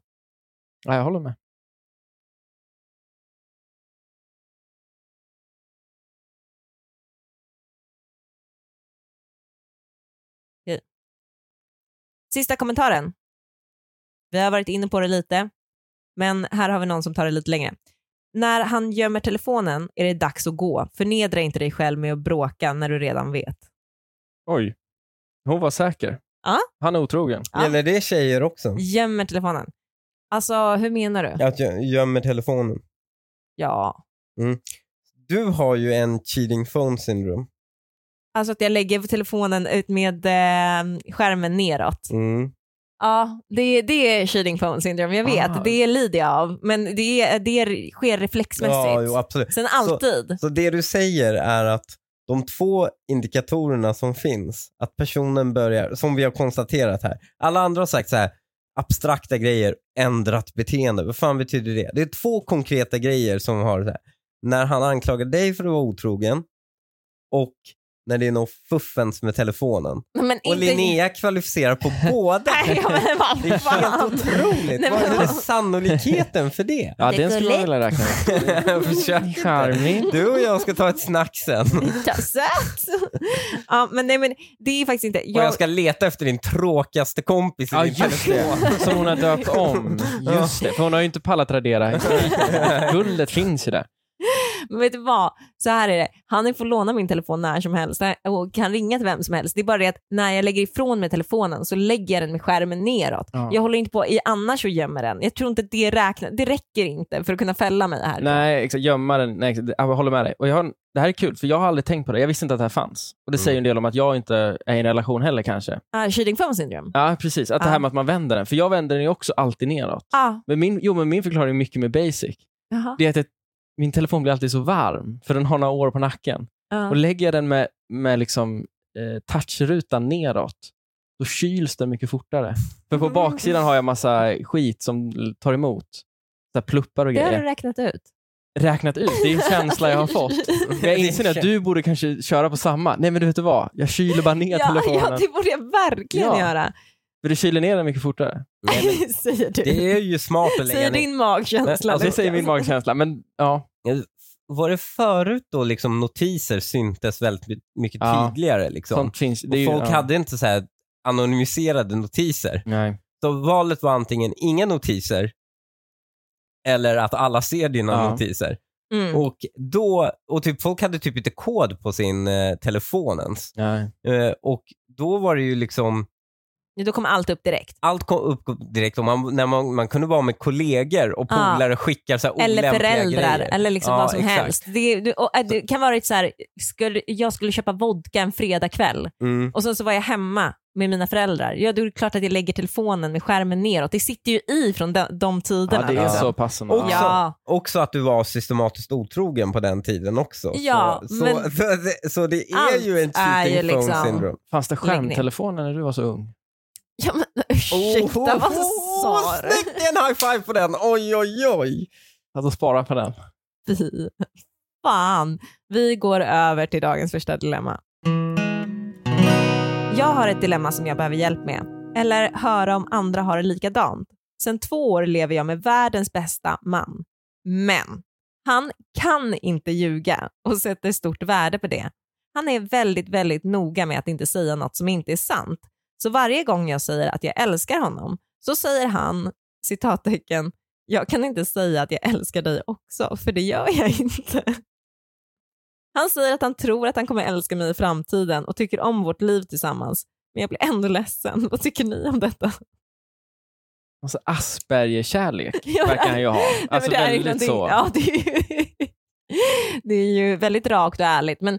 Speaker 3: Ja, jag håller med.
Speaker 1: Sista kommentaren. Vi har varit inne på det lite, men här har vi någon som tar det lite längre. När han gömmer telefonen är det dags att gå. Förnedra inte dig själv med att bråka när du redan vet.
Speaker 3: Oj. Hon var säker.
Speaker 1: Ja.
Speaker 3: Han är otrogen.
Speaker 1: Ja.
Speaker 2: Gäller det tjejer också?
Speaker 1: Gömmer telefonen. Alltså, hur menar du?
Speaker 2: Att jag gömmer telefonen?
Speaker 1: Ja.
Speaker 2: Du har ju en cheating phone syndrome.
Speaker 1: Alltså att jag lägger telefonen ut med eh, skärmen neråt.
Speaker 2: Mm.
Speaker 1: Ja, det, det är cheating phone syndrome, jag vet.
Speaker 3: Ah.
Speaker 1: Det lider jag av. Men det, är- det är- sker
Speaker 2: Ja,
Speaker 1: reflexmässigt.
Speaker 2: jo, absolut.
Speaker 1: Sen alltid.
Speaker 2: Så det du säger är att de två indikatorerna som finns, att personen börjar, som vi har konstaterat här, alla andra har sagt så här, abstrakta grejer, ändrat beteende. Vad fan betyder det? Det är två konkreta grejer som har det här. När han anklagar dig för att vara otrogen och när det är något fuffens med telefonen.
Speaker 1: Men
Speaker 2: Och Linnea kvalificerar på båda.
Speaker 1: Nej, ja, men
Speaker 2: Det är
Speaker 1: vad
Speaker 2: helt
Speaker 1: fan.
Speaker 2: otroligt.
Speaker 1: Nej,
Speaker 2: Vad
Speaker 1: men-
Speaker 2: är sannolikheten för det?
Speaker 3: Ja, den
Speaker 1: Nicolette.
Speaker 3: skulle jag vilja räkna med.
Speaker 2: Försök inte.
Speaker 3: Charmig.
Speaker 2: Du och jag ska ta ett snack sen.
Speaker 1: Kassett. ja, men nej, men det är faktiskt inte...
Speaker 2: Och jag
Speaker 1: Jag,
Speaker 2: ska leta efter din tråkigaste kompis i
Speaker 3: Ja,
Speaker 2: din
Speaker 3: just
Speaker 2: telefon.
Speaker 3: det. Som hon har döpt om. Just det. För hon har ju inte pallat radera. Guldet finns ju där.
Speaker 1: men vet du vad? Så här är det. Han får låna min telefon när som helst och kan ringa till vem som helst. Det är bara det att när jag lägger ifrån mig telefonen så lägger jag den med skärmen neråt.
Speaker 3: Ja.
Speaker 1: Jag håller inte på i annars och gömmer den. Jag tror inte att det räknas. Det räcker inte för att kunna fälla mig här.
Speaker 3: Nej, exakt. Gömma den. Nej, exakt. Jag håller med dig. Och jag har, det här är kul, för jag har aldrig tänkt på det. Jag visste inte att det här fanns. Och Det säger ju en del om att jag inte är i en relation heller kanske.
Speaker 1: Ah, cheating phone syndrome.
Speaker 3: Ja, precis. Att Det
Speaker 1: Ja.
Speaker 3: här med att man vänder den. För jag vänder den ju också alltid neråt.
Speaker 1: Ah,
Speaker 3: Men min, jo, men min förklaring är mycket mer basic.
Speaker 1: jaha.
Speaker 3: Det är att jag, min telefon blir alltid så varm, för den har några år på nacken.
Speaker 1: Ja.
Speaker 3: Och Lägger jag den med, med liksom, eh, touchrutan neråt, då kyls den mycket fortare. För på
Speaker 1: Mm.
Speaker 3: baksidan har jag massa skit som l- tar emot. Så här pluppar och
Speaker 1: Det har du
Speaker 3: grejer.
Speaker 1: räknat ut. Alltså,
Speaker 3: Räknat ut, det är en känsla jag har fått. Men jag inser att du borde kanske köra på samma. Nej men du vet du vad, jag kyler bara ner
Speaker 1: Ja, ja,
Speaker 3: telefonen.
Speaker 1: det borde jag verkligen
Speaker 3: Ja.
Speaker 1: göra.
Speaker 3: För du kyler ner den mycket fortare.
Speaker 2: Nej,
Speaker 1: säger du.
Speaker 2: men det är ju smart att lägga
Speaker 1: säger
Speaker 2: ner.
Speaker 1: din magkänsla.
Speaker 3: Alltså, det
Speaker 1: Lukas.
Speaker 3: säger min magkänsla. Men ja,
Speaker 2: Var det förut då liksom notiser syntes väldigt my- mycket
Speaker 3: Ja.
Speaker 2: tydligare? Liksom?
Speaker 3: sånt finns. Det är
Speaker 2: Och
Speaker 3: ju,
Speaker 2: folk
Speaker 3: ja.
Speaker 2: hade inte så här anonymiserade notiser.
Speaker 3: Nej.
Speaker 2: Så valet var antingen inga notiser eller att alla ser dina
Speaker 3: Ja.
Speaker 2: notiser.
Speaker 1: Mm.
Speaker 2: Och då, och typ, folk hade typ inte kod på sin eh, telefon ens.
Speaker 3: Nej.
Speaker 2: Eh, och då var det ju liksom
Speaker 1: Ja, Då kommer allt upp direkt.
Speaker 2: allt kom upp direkt och man, när man, man kunde vara med kollegor och
Speaker 1: Ja.
Speaker 2: polare och skicka så här
Speaker 1: Eller
Speaker 2: olämpliga
Speaker 1: föräldrar,
Speaker 2: grejer.
Speaker 1: eller liksom
Speaker 2: Ja,
Speaker 1: vad som
Speaker 2: exakt.
Speaker 1: helst. Det, du- och, äh, det kan vara ett så här, skulle, jag skulle köpa vodka en fredagkväll
Speaker 2: Mm.
Speaker 1: och sen så var jag hemma med mina föräldrar. Ja, då är det klart att jag lägger telefonen med skärmen neråt. Det sitter ju i från de, de
Speaker 3: Ja,
Speaker 1: tiderna.
Speaker 3: det är
Speaker 2: liksom.
Speaker 3: så passande.
Speaker 2: Och-
Speaker 3: Ja.
Speaker 1: Ja.
Speaker 2: Också att du var systematiskt otrogen på den tiden också.
Speaker 1: Ja,
Speaker 2: så, så,
Speaker 1: men-
Speaker 2: så, det- så det är
Speaker 1: Allt
Speaker 2: ju en
Speaker 1: är
Speaker 2: cheating
Speaker 1: ju
Speaker 2: phone
Speaker 1: liksom-
Speaker 2: syndrome.
Speaker 3: Fanns det
Speaker 1: Lägg ner.
Speaker 3: skärmtelefoner när du var så ung?
Speaker 1: Ja, men, ursäkta,
Speaker 2: Oho,
Speaker 1: vad sa du?
Speaker 2: Snyggt, det är en high five på den. Oj, oj, oj.
Speaker 3: Att de sparar Alltså, på den.
Speaker 1: Fy fan. Vi går över till dagens första dilemma. Jag har ett dilemma som jag behöver hjälp med, eller höra om andra har det likadant. Sen två år lever jag med världens bästa man, men han kan inte ljuga och sätter stort värde på det. Han är väldigt, väldigt noga med att inte säga något som inte är sant. Så varje gång jag säger att jag älskar honom så säger han, citattecken, jag kan inte säga att jag älskar dig också, för det gör jag inte. Han säger att han tror att han kommer älska mig i framtiden och tycker om vårt liv tillsammans, men jag blir ändå ledsen. Vad tycker ni om detta?
Speaker 3: Alltså Asperger-kärlek
Speaker 1: Ja,
Speaker 3: verkar han ju ha.
Speaker 1: Nej, men
Speaker 3: Alltså
Speaker 1: det är ju någonting-
Speaker 3: väldigt så.
Speaker 1: Ja, det, är ju, det är ju väldigt rakt och ärligt, men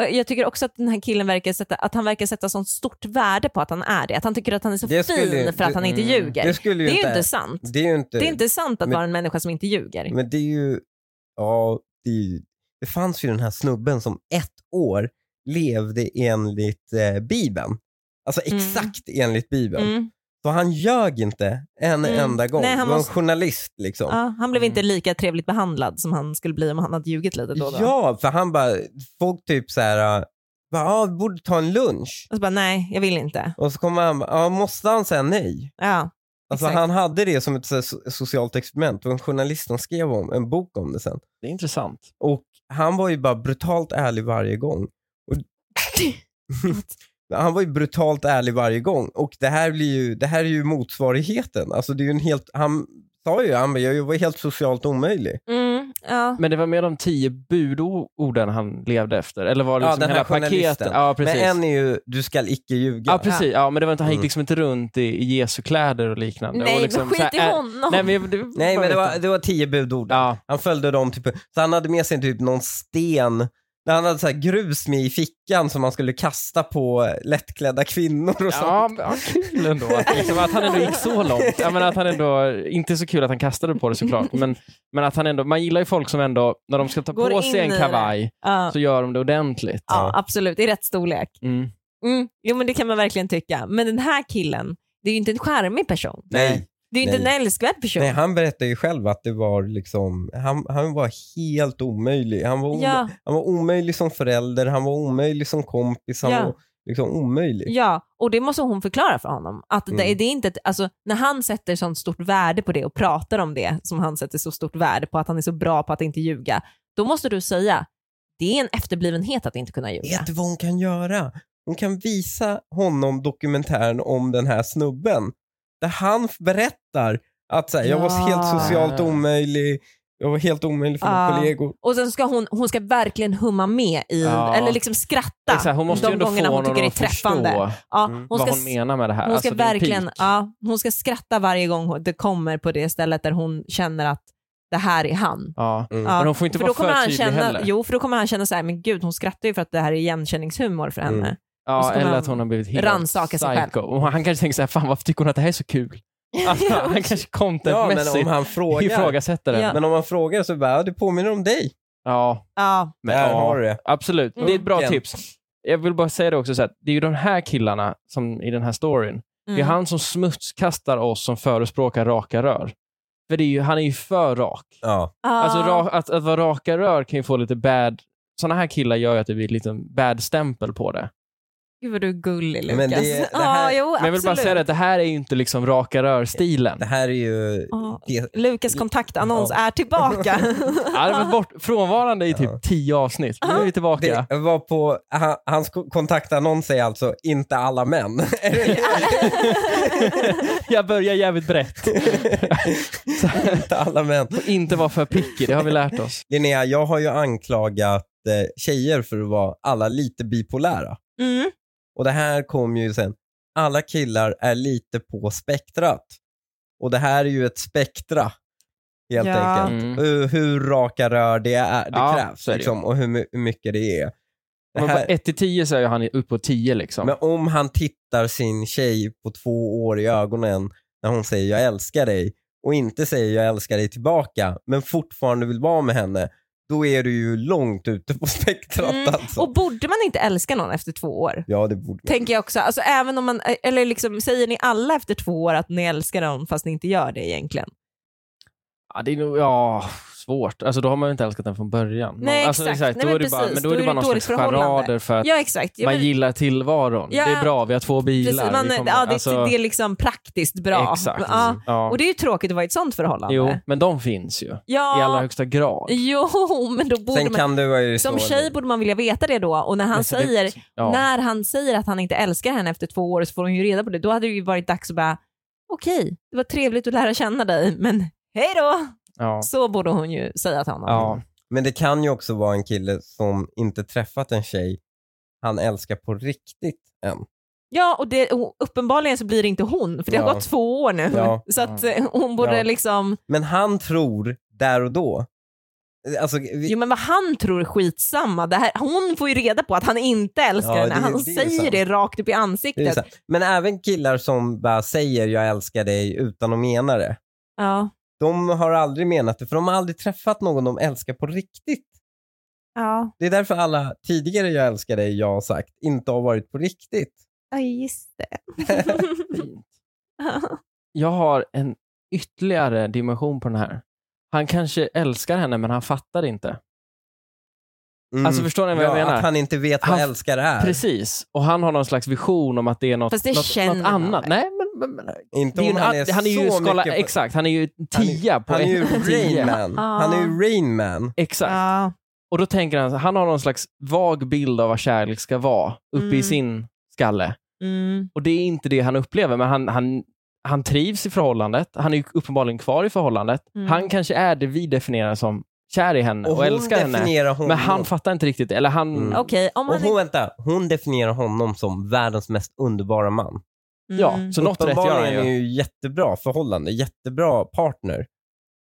Speaker 1: eh, jag tycker också att den här killen verkar sätta, att han verkar sätta sånt stort värde på att han är det. Att han tycker att han är så
Speaker 2: Det
Speaker 1: fin
Speaker 2: skulle ju-
Speaker 1: för att
Speaker 2: det-
Speaker 1: han inte
Speaker 3: mm,
Speaker 1: ljuger.
Speaker 2: Det
Speaker 1: Det,
Speaker 2: skulle ju
Speaker 1: är ju
Speaker 2: inte...
Speaker 1: inte sant.
Speaker 2: Det är ju inte...
Speaker 1: Det är inte sant att
Speaker 2: men-
Speaker 1: vara en människa som inte ljuger.
Speaker 2: Men det är ju... Ja, det, är ju... det fanns ju den här snubben som ett år levde enligt eh, Bibeln. Alltså
Speaker 1: Mm.
Speaker 2: exakt enligt Bibeln.
Speaker 1: Mm.
Speaker 2: Så han ljög inte en
Speaker 1: Mm.
Speaker 2: enda gång.
Speaker 1: Nej,
Speaker 2: han
Speaker 1: han
Speaker 2: var en
Speaker 1: måste-
Speaker 2: journalist liksom.
Speaker 1: Ja, han blev
Speaker 3: Mm.
Speaker 1: inte lika trevligt behandlad som han skulle bli om han hade ljugit lite då och då.
Speaker 2: Ja, för han bara, folk typ så här, äh, bara, ja, vi borde ta en lunch.
Speaker 1: Och så bara, nej, jag vill inte.
Speaker 2: Och så kommer han, ja, måste han säga nej?
Speaker 1: Ja,
Speaker 2: Alltså
Speaker 1: Exakt.
Speaker 2: han hade det som ett så här, so- socialt experiment. Det var en journalist som skrev om, en bok om det sen.
Speaker 3: Det är intressant.
Speaker 2: Och han var ju bara brutalt ärlig varje gång. Och... han var ju brutalt ärlig varje gång. Och det här, blir ju, det här är ju motsvarigheten. Alltså det är ju en helt, han sa ju, han bara, jag var helt socialt omöjlig.
Speaker 1: mm, ja.
Speaker 3: Men det var mer de tio budorden han levde efter? Eller var det
Speaker 2: Ja,
Speaker 3: liksom
Speaker 2: den här
Speaker 3: hela
Speaker 2: journalisten.
Speaker 3: paketet? Ja, precis.
Speaker 2: Men en är ju, du skall icke ljuga.
Speaker 3: Ja, precis. Ja, men det var inte, han gick
Speaker 2: Mm.
Speaker 3: liksom inte runt i, i Jesu kläder och liknande.
Speaker 1: Nej,
Speaker 3: och liksom,
Speaker 1: men skit
Speaker 3: så här,
Speaker 1: i
Speaker 3: äh,
Speaker 1: honom.
Speaker 3: Nej, men, det,
Speaker 2: Nej, men det var,
Speaker 3: vänta.
Speaker 2: det var tio budord.
Speaker 3: Ja,
Speaker 2: Han följde dem, typ, så han hade med sig typ någon sten, han hade så här grus med i fickan som han skulle kasta på lättklädda kvinnor och
Speaker 3: ja,
Speaker 2: sånt.
Speaker 3: men, ja, kul ändå. Att, liksom, att han ändå gick så långt. Ja, men att han ändå, inte så kul att han kastade på det såklart, men, men att han ändå, man gillar ju folk som ändå, när de ska ta
Speaker 1: Går
Speaker 3: på
Speaker 1: in
Speaker 3: sig
Speaker 1: i
Speaker 3: en
Speaker 1: det.
Speaker 3: kavaj,
Speaker 1: ja.
Speaker 3: så gör de det ordentligt.
Speaker 1: ja, absolut. I rätt storlek.
Speaker 3: Mm.
Speaker 1: Mm. Jo, men det kan man verkligen tycka. Men den här killen, det är ju inte en charmig person.
Speaker 2: Nej,
Speaker 1: Det är ju inte
Speaker 2: Nej.
Speaker 1: en älskvärd person.
Speaker 2: nej, han berättade ju själv att det var liksom, han, han var helt omöjlig. Han var, omö-
Speaker 1: ja,
Speaker 2: han var omöjlig som förälder, han var omöjlig som kompis, han
Speaker 1: Ja.
Speaker 2: var liksom omöjlig.
Speaker 1: ja, och det måste hon förklara för honom. Att det,
Speaker 2: Mm.
Speaker 1: det är inte ett, alltså, när han sätter sånt stort värde på det och pratar om det som han sätter så stort värde på, att han är så bra på att inte ljuga, då måste du säga det är en efterblivenhet att inte kunna ljuga.
Speaker 2: Vet du vad hon kan göra? Hon kan visa honom dokumentären om den här snubben. Där han f- berättar att så här, jag var
Speaker 1: Ja.
Speaker 2: helt socialt omöjlig, jag var helt omöjlig för mina
Speaker 1: Ja.
Speaker 2: kollegor.
Speaker 1: Och sen ska hon, hon ska verkligen humma med i,
Speaker 3: Ja.
Speaker 1: eller liksom skratta
Speaker 3: Exakt, hon måste
Speaker 1: de
Speaker 3: ju ändå få
Speaker 1: gångerna hon
Speaker 3: honom
Speaker 1: tycker det är
Speaker 3: att förstå
Speaker 1: träffande. Ja,
Speaker 2: Mm.
Speaker 1: hon,
Speaker 3: vad
Speaker 1: ska,
Speaker 3: hon menar med det här.
Speaker 1: hon ska
Speaker 3: Alltså, det är en
Speaker 1: verkligen,
Speaker 3: pik.
Speaker 1: ja, hon ska skratta varje gång hon- det kommer på det stället där hon känner att det här är han.
Speaker 3: Ja.
Speaker 2: Mm.
Speaker 1: Ja,
Speaker 3: Men hon får inte
Speaker 1: för
Speaker 3: vara
Speaker 1: då kommer
Speaker 3: för
Speaker 1: han
Speaker 3: tydlig
Speaker 1: känna,
Speaker 3: heller.
Speaker 1: Jo, för då kommer han känna så här, men gud hon skrattar ju för att det här är igenkänningshumor för henne.
Speaker 2: Mm.
Speaker 1: Och
Speaker 3: Ja,
Speaker 1: så kommer
Speaker 3: eller
Speaker 1: han
Speaker 3: att hon har blivit helt
Speaker 1: rannsaka sig själv.
Speaker 3: psycho. Och han kanske tänker så här, fan varför tycker hon att det här är så kul? Alltså, han kanske
Speaker 2: Ja, men
Speaker 3: contentmässigt
Speaker 2: om han frågar.
Speaker 3: ifrågasätter det.
Speaker 1: Ja.
Speaker 2: Men om man frågar så bara, ja, det påminner om dig.
Speaker 3: Ja,
Speaker 1: Ja,
Speaker 3: men,
Speaker 2: Där
Speaker 3: ja
Speaker 2: har du det.
Speaker 3: absolut.
Speaker 1: Mm.
Speaker 3: Det är ett bra
Speaker 2: Verkligen.
Speaker 3: tips. Jag vill bara säga det också, så här, det är ju de här killarna som i den här storyn, det är
Speaker 1: mm.
Speaker 3: han som smutskastar oss som förespråkar raka rör. För det är ju, han är ju för rak.
Speaker 2: Ja.
Speaker 1: Ja.
Speaker 3: Alltså, ra, att, att vara raka rör kan ju få lite bad... Sådana här killar gör ju att det blir lite bad-stämpel på det.
Speaker 1: Gud vad du är gullig Lukas.
Speaker 2: Men det- det här-
Speaker 1: ja, jo,
Speaker 3: Men jag vill bara
Speaker 1: absolut.
Speaker 3: säga det, att det här är ju inte liksom raka rör-stilen.
Speaker 2: Det här är ju...
Speaker 1: Ja.
Speaker 2: det-
Speaker 1: Lukas kontaktannons
Speaker 2: Ja.
Speaker 1: är tillbaka. Mm,
Speaker 3: Ja, det var bort, frånvarande i typ
Speaker 2: Ja.
Speaker 3: tio avsnitt. Nu är vi tillbaka.
Speaker 2: Det var på, han, hans ko- kontaktannons är alltså inte alla män.
Speaker 3: Jag börjar jävligt brett.
Speaker 2: inte alla män.
Speaker 3: Och inte vara för picky, det har vi lärt oss.
Speaker 2: Linnea, jag har ju anklagat eh, tjejer för att vara alla lite bipolära.
Speaker 1: mm.
Speaker 2: Och det här kom ju sen. Alla killar är lite på spektrat. Och det här är ju ett spektra. Helt
Speaker 1: Ja.
Speaker 2: enkelt.
Speaker 3: Mm.
Speaker 2: Hur, hur raka rör det, är, det
Speaker 3: Ja,
Speaker 2: krävs
Speaker 3: så är det ju.
Speaker 2: liksom, och hur, my- hur mycket det är. Det
Speaker 3: Men på
Speaker 2: här,
Speaker 3: 1 till 10 så är ju han upp på 10 liksom.
Speaker 2: men om han tittar sin tjej på två år i ögonen när hon säger jag älskar dig och inte säger jag älskar dig tillbaka men fortfarande vill vara med henne då är du ju långt ute på spektrat
Speaker 1: Mm.
Speaker 2: alltså.
Speaker 1: Och borde man inte älska någon efter två år?
Speaker 2: Ja, det borde man.
Speaker 1: Tänker jag också. Alltså, även om man, eller liksom, säger ni alla efter två år att ni älskar dem fast ni inte gör det egentligen?
Speaker 3: Ja, det är nog, ja, svårt. Alltså då har man ju inte älskat den från början.
Speaker 1: Nej,
Speaker 3: alltså,
Speaker 1: exakt. Nej,
Speaker 3: då
Speaker 1: men
Speaker 3: är det bara,
Speaker 1: precis.
Speaker 3: men då är det bara någon
Speaker 1: dåligt
Speaker 3: slags
Speaker 1: förhållande.
Speaker 3: charader för att
Speaker 1: Ja exakt. Ja,
Speaker 3: man
Speaker 1: men-
Speaker 3: gillar tillvaron.
Speaker 1: Ja.
Speaker 3: det är bra, vi har två bilar.
Speaker 1: precis, man,
Speaker 3: vi kommer-
Speaker 1: ja, det,
Speaker 3: alltså,
Speaker 1: det är liksom praktiskt bra.
Speaker 3: Exakt.
Speaker 1: Ja.
Speaker 3: Ja.
Speaker 1: Och det är ju tråkigt att vara i ett sånt förhållande.
Speaker 3: Jo, men de finns ju.
Speaker 1: Ja,
Speaker 3: I allra högsta grad.
Speaker 1: jo men då borde
Speaker 2: Sen
Speaker 1: man,
Speaker 2: kan det vara ju
Speaker 1: som
Speaker 2: så-
Speaker 1: tjej borde man vilja veta det då och när han
Speaker 3: Men så det-
Speaker 1: säger
Speaker 3: ja.
Speaker 1: När han säger att han inte älskar henne efter två år så får hon ju reda på det. Då hade det ju varit dags att bara, okej, det var trevligt att lära känna dig, men hej då!
Speaker 3: Ja.
Speaker 1: Så borde hon ju säga till honom.
Speaker 3: Ja.
Speaker 2: Men det kan ju också vara en kille som inte träffat en tjej han älskar på riktigt än.
Speaker 1: Ja, och det, och uppenbarligen så blir det inte hon, för det
Speaker 2: Ja.
Speaker 1: har gått två år nu.
Speaker 2: Ja.
Speaker 1: Så att eh, hon borde
Speaker 2: Ja.
Speaker 1: liksom,
Speaker 2: Men han tror där och då. Alltså, vi,
Speaker 1: jo men vad han tror är skitsamma. Det här, hon får ju reda på att han inte älskar
Speaker 2: Ja,
Speaker 1: henne.
Speaker 2: det-
Speaker 1: Han
Speaker 2: det är
Speaker 1: säger
Speaker 2: sant.
Speaker 1: det rakt upp i
Speaker 2: det är
Speaker 1: ansiktet.
Speaker 2: så här. men även killar som bara säger jag älskar dig utan att mena det.
Speaker 1: Ja.
Speaker 2: De har aldrig menat det för de har aldrig träffat någon de älskar på riktigt.
Speaker 1: Ja.
Speaker 2: Det är därför alla tidigare jag älskar dig jag har sagt inte har varit på riktigt.
Speaker 3: Mm.
Speaker 1: ja, just det.
Speaker 3: Fint. jag har en ytterligare dimension på den här. Han kanske älskar henne, men han fattar inte.
Speaker 2: Mm.
Speaker 3: Alltså förstår ni vad jag
Speaker 2: ja,
Speaker 3: menar?
Speaker 2: Att han inte vet vad
Speaker 3: Han-
Speaker 2: älskar är.
Speaker 3: Precis, och han har någon slags vision om att det är något,
Speaker 1: Fast det
Speaker 3: något,
Speaker 1: känner
Speaker 3: något
Speaker 1: man
Speaker 3: annat.
Speaker 1: väl?
Speaker 3: Nej, men, men, men
Speaker 2: Inte
Speaker 3: det är ju
Speaker 2: om
Speaker 3: en,
Speaker 2: han är,
Speaker 3: han är ju
Speaker 2: så
Speaker 3: skala,
Speaker 2: mycket...
Speaker 3: Exakt, han är ju tia på Mm.
Speaker 2: han är ju
Speaker 3: ett- tio.
Speaker 2: Rain Man. Han är ju Rain Man.
Speaker 3: Exakt.
Speaker 1: Ja.
Speaker 3: Och då tänker han, han har någon slags vag bild av vad kärlek ska vara uppe i
Speaker 1: Mm.
Speaker 3: sin skalle.
Speaker 1: Mm.
Speaker 3: Och det är inte det han upplever, men han, han, han trivs i förhållandet. Han är ju uppenbarligen kvar i förhållandet.
Speaker 1: Mm.
Speaker 3: Han kanske är det vi definierar som kär i henne
Speaker 2: Och,
Speaker 3: och,
Speaker 2: hon
Speaker 3: älskar henne.
Speaker 2: definierar honom.
Speaker 3: Men han fattar inte riktigt, eller han...
Speaker 2: Mm.
Speaker 1: Okej, om
Speaker 2: och
Speaker 1: han är...
Speaker 2: hon, vänta, hon definierar honom som världens mest underbara man.
Speaker 1: Mm.
Speaker 3: Ja, så något rätt gör han
Speaker 2: Uppenbarligen är
Speaker 3: ju.
Speaker 2: ju jättebra förhållande, jättebra partner.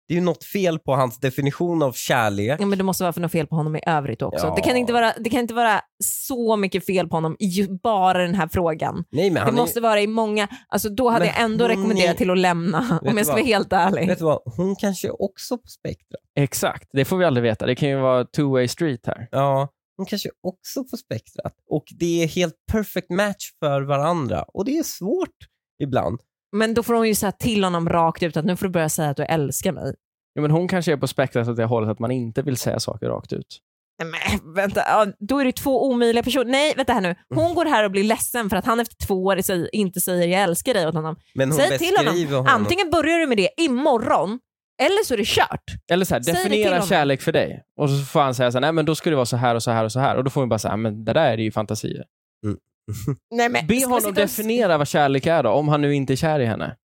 Speaker 2: Det är ju något fel på hans definition av
Speaker 3: Mm.
Speaker 2: kärlek.
Speaker 1: Ja, men det måste vara för något fel på honom i övrigt också.
Speaker 2: Ja.
Speaker 1: Det, kan inte vara, det kan inte vara så mycket fel på honom i ju bara den här frågan.
Speaker 2: Nej, men han
Speaker 1: det måste vara i många, alltså då hade
Speaker 2: Men
Speaker 1: jag ändå
Speaker 2: hon är-
Speaker 1: rekommenderat till att lämna om
Speaker 2: du
Speaker 1: jag ska
Speaker 2: vad?
Speaker 1: vara helt
Speaker 2: är,
Speaker 1: ärlig.
Speaker 2: vet du vad, hon kanske är också på spektra.
Speaker 3: Exakt, det får vi aldrig veta. Det kan ju vara two way street här.
Speaker 2: Ja, hon kanske är också på spektrat. Och det är helt perfect match för varandra. Och det är svårt ibland.
Speaker 1: Men då får hon ju säga till honom rakt ut att nu får du börja säga att du älskar mig.
Speaker 3: Ja, men hon kanske är på spektrat åt det hållet att man inte vill säga saker rakt ut.
Speaker 1: Nej, men vänta, ja, då är det två omöjliga personer. Nej, vänta här nu. Hon går här och blir ledsen för att han efter två år säger, inte säger jag älskar dig åt honom.
Speaker 2: Men hon
Speaker 1: Säg till honom,
Speaker 2: beskriver honom.
Speaker 1: Antingen börjar du med det imorgon, eller så är det kört.
Speaker 3: Eller så här,
Speaker 1: Säg det till
Speaker 3: definiera
Speaker 1: honom.
Speaker 3: kärlek för dig. Och så får han säga så här, nej men då ska det vara så här och så här och så här. Och då får vi bara säga, men det där är ju fantasier.
Speaker 1: Nej, alltså, men,
Speaker 3: Be
Speaker 1: ska man
Speaker 3: honom
Speaker 1: sitta och-
Speaker 3: definiera vad kärlek är då, om han nu inte är kär i henne.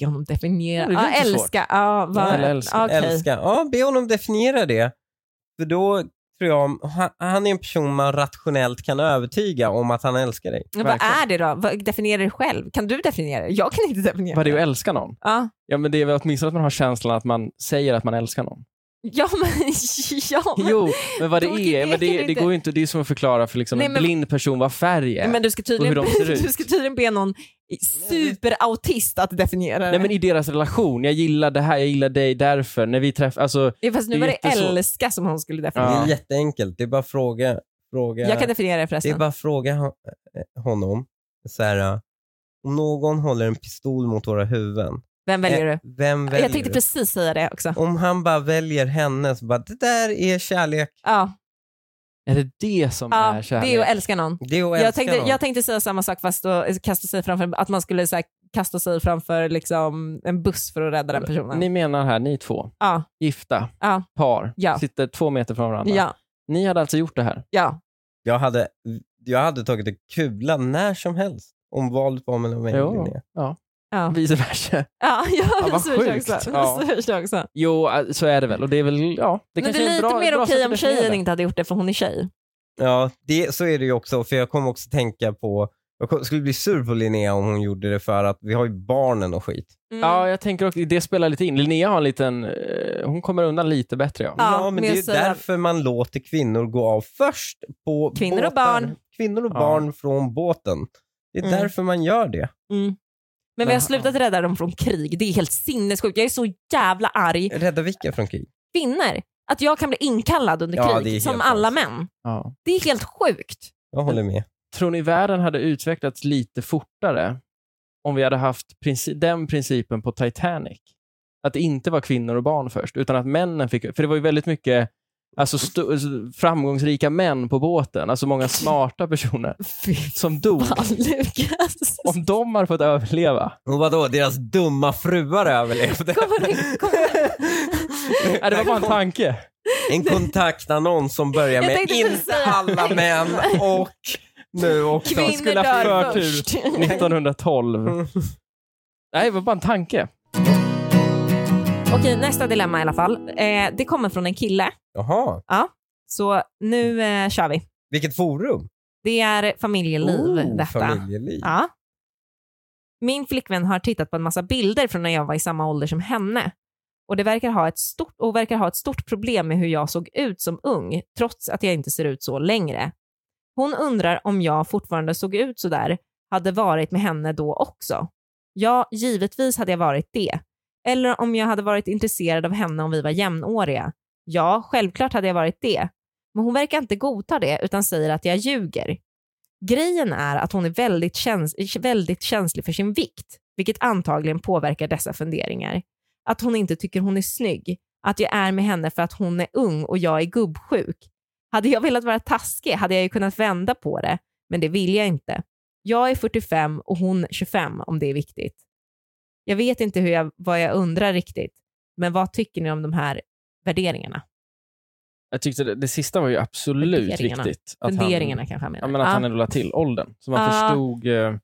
Speaker 1: Be honom definiera.
Speaker 3: Det är väl
Speaker 1: Ja,
Speaker 3: inte svårt.
Speaker 1: älska. Ja, vad-
Speaker 3: Eller älska.
Speaker 1: okej.
Speaker 2: älska. Ja, be honom definiera det. För då tror jag, han, han är en person man rationellt kan övertyga om att han älskar dig.
Speaker 1: Men Vad
Speaker 3: Verkligen.
Speaker 1: är det då? Vad- Definiera det själv. Kan du definiera det? Jag kan inte definiera
Speaker 3: Vad är det att
Speaker 1: det.
Speaker 3: älska någon?
Speaker 1: Ja.
Speaker 3: Ja men det är väl åtminstone att man har känslan att man säger att man älskar någon.
Speaker 1: Ja, men, ja, men,
Speaker 3: Jo, men vad det
Speaker 1: Tokigt, det
Speaker 3: är, men
Speaker 1: räcker
Speaker 3: det, det
Speaker 1: inte.
Speaker 3: går ju inte, det är som att förklara för liksom
Speaker 1: Nej,
Speaker 3: en
Speaker 1: men-
Speaker 3: blind person vad färg är.
Speaker 1: men du, ska tydligen,
Speaker 3: Och hur de ser
Speaker 1: du
Speaker 3: ut.
Speaker 1: ska tydligen be någon superautist att definiera det.
Speaker 3: Nej men i deras relation, jag gillar det här, jag gillar dig därför. När vi träffas, alltså
Speaker 1: Ja, Fast nu
Speaker 3: det är
Speaker 1: var det
Speaker 3: jättesvårt.
Speaker 1: älska som hon skulle
Speaker 2: Det
Speaker 1: definiera.
Speaker 2: är
Speaker 3: Ja.
Speaker 2: jätteenkelt. Det är bara fråga, fråga.
Speaker 1: Jag kan definiera det
Speaker 2: det är
Speaker 1: förresten.
Speaker 2: bara fråga hon- eh, honom. Så här, eh, om någon håller en pistol mot våra huvuden,
Speaker 1: Vem väljer du?
Speaker 2: eh, vem väljer
Speaker 1: Jag tänkte
Speaker 2: du?
Speaker 1: precis säga det också.
Speaker 2: Om han bara väljer henne, så bara, det där är kärlek.
Speaker 1: Ja,
Speaker 3: är det det som
Speaker 1: ja
Speaker 3: är kärlek?
Speaker 1: det är att älska någon.
Speaker 2: Det är att
Speaker 1: Jag
Speaker 2: älska
Speaker 1: tänkte,
Speaker 2: någon.
Speaker 1: jag tänkte säga samma sak fast då, eh, kasta sig framför, att man skulle så här, kasta sig framför liksom, en buss för att rädda den personen.
Speaker 3: Ni menar här, ni två,
Speaker 1: Ja,
Speaker 3: gifta,
Speaker 1: Ja.
Speaker 3: par,
Speaker 1: Ja.
Speaker 3: sitter två meter från varandra.
Speaker 1: ja,
Speaker 3: Ni hade alltså gjort det här?
Speaker 1: ja.
Speaker 2: jag, hade, jag hade tagit en kula när som helst om valet var mellan mig och
Speaker 3: Jo.
Speaker 2: Linnea.
Speaker 1: ja.
Speaker 3: Vice versa.
Speaker 1: Ja, ja,
Speaker 3: Ja,
Speaker 1: ja
Speaker 3: vad
Speaker 1: så hörs jag
Speaker 3: sjukt.
Speaker 1: också.
Speaker 3: Ja.
Speaker 1: Så hörs jag också.
Speaker 3: Jo, äh, så är det väl. Och det är väl, ja. Det
Speaker 1: Men det
Speaker 3: kanske
Speaker 1: är
Speaker 3: är en
Speaker 1: lite
Speaker 3: bra,
Speaker 1: mer
Speaker 3: bra sätt
Speaker 1: okej
Speaker 3: att
Speaker 1: om
Speaker 3: definiera
Speaker 1: tjejen
Speaker 3: det.
Speaker 1: inte hade gjort det för hon är tjej.
Speaker 2: Ja, det, så är det ju också. För jag kommer också tänka på, jag kom- skulle bli sur på Linnea om hon gjorde det för att vi har ju barnen och skit.
Speaker 3: Ja, jag tänker också, det spelar lite in. Linnea har en liten, eh, hon kommer undan lite bättre ja.
Speaker 1: Ja,
Speaker 2: men
Speaker 1: men
Speaker 2: det är ju
Speaker 1: jag säger-
Speaker 2: därför man låter kvinnor gå av först på
Speaker 1: Kvinnor och
Speaker 2: båtar.
Speaker 1: barn.
Speaker 2: Kvinnor och
Speaker 3: Ja.
Speaker 2: barn från båten. Det är
Speaker 1: Mm.
Speaker 2: därför man gör det.
Speaker 1: Mm. Men vi har slutat rädda dem från krig. Det är helt sinnessjukt. Jag är så jävla arg.
Speaker 2: Rädda vilka från krig?
Speaker 1: Kvinnor, att jag kan bli inkallad under
Speaker 2: Ja, det är
Speaker 1: krig
Speaker 2: helt
Speaker 1: som alla
Speaker 2: sjukt.
Speaker 1: män.
Speaker 3: ja.
Speaker 1: Det är helt sjukt.
Speaker 2: Jag håller med.
Speaker 3: Tror ni världen hade utvecklats lite fortare om vi hade haft princi- den principen på Titanic? Att det inte var kvinnor och barn först, utan att männen fick... För det var ju väldigt mycket alltså, st- framgångsrika män på båten, alltså många smarta personer
Speaker 1: Fy
Speaker 3: som dog.
Speaker 1: fan Lukas.
Speaker 3: Om de hade fått överleva.
Speaker 2: Och vadå, deras dumma fruar överlevde?
Speaker 1: Kommer det-
Speaker 3: Nej, det var bara en tanke.
Speaker 2: En kontaktannons som börjar
Speaker 1: Jag
Speaker 2: med
Speaker 1: tänkte precis
Speaker 2: inte
Speaker 1: säga-
Speaker 2: alla män och nu också.
Speaker 1: Kvinnor
Speaker 3: skulle ha
Speaker 1: dör
Speaker 3: förtur.
Speaker 1: först.
Speaker 3: 1912. Nej, det var bara en tanke.
Speaker 1: Okej, nästa dilemma i alla fall. Eh, det kommer från en kille,
Speaker 2: Jaha,
Speaker 1: så nu eh, kör vi.
Speaker 2: vilket forum?
Speaker 1: Det är familjeliv
Speaker 2: Oh,
Speaker 1: detta.
Speaker 2: Familjeliv.
Speaker 1: Ja. Min flickvän har tittat på en massa bilder från när jag var i samma ålder som henne och, det verkar ha ett stort, och verkar ha ett stort problem med hur jag såg ut som ung trots att jag inte ser ut så längre. Hon undrar om jag fortfarande såg ut så där hade varit med henne då också. Ja, givetvis hade jag varit det. Eller om jag hade varit intresserad av henne om vi var jämnåriga. Ja, självklart hade jag varit det. Men hon verkar inte godta det utan säger att jag ljuger. Grejen är att hon är väldigt, käns- väldigt känslig för sin vikt, vilket antagligen påverkar dessa funderingar. Att hon inte tycker hon är snygg, att jag är med henne för att hon är ung och jag är gubbsjuk. Hade jag velat vara taskig hade jag ju kunnat vända på det, men det vill jag inte. Jag är 45 och hon 25 om det är viktigt. Jag vet inte hur jag, vad jag undrar riktigt, men vad tycker ni om de här värderingarna?
Speaker 3: Jag tyckte det, det sista var ju absolut
Speaker 1: Funderingarna.
Speaker 3: viktigt.
Speaker 1: Funderingarna
Speaker 3: han,
Speaker 1: kanske jag menar.
Speaker 3: ja, men att
Speaker 1: Ja.
Speaker 3: han ändå lade till åldern. Så man
Speaker 1: Ah.
Speaker 3: förstod. Eh,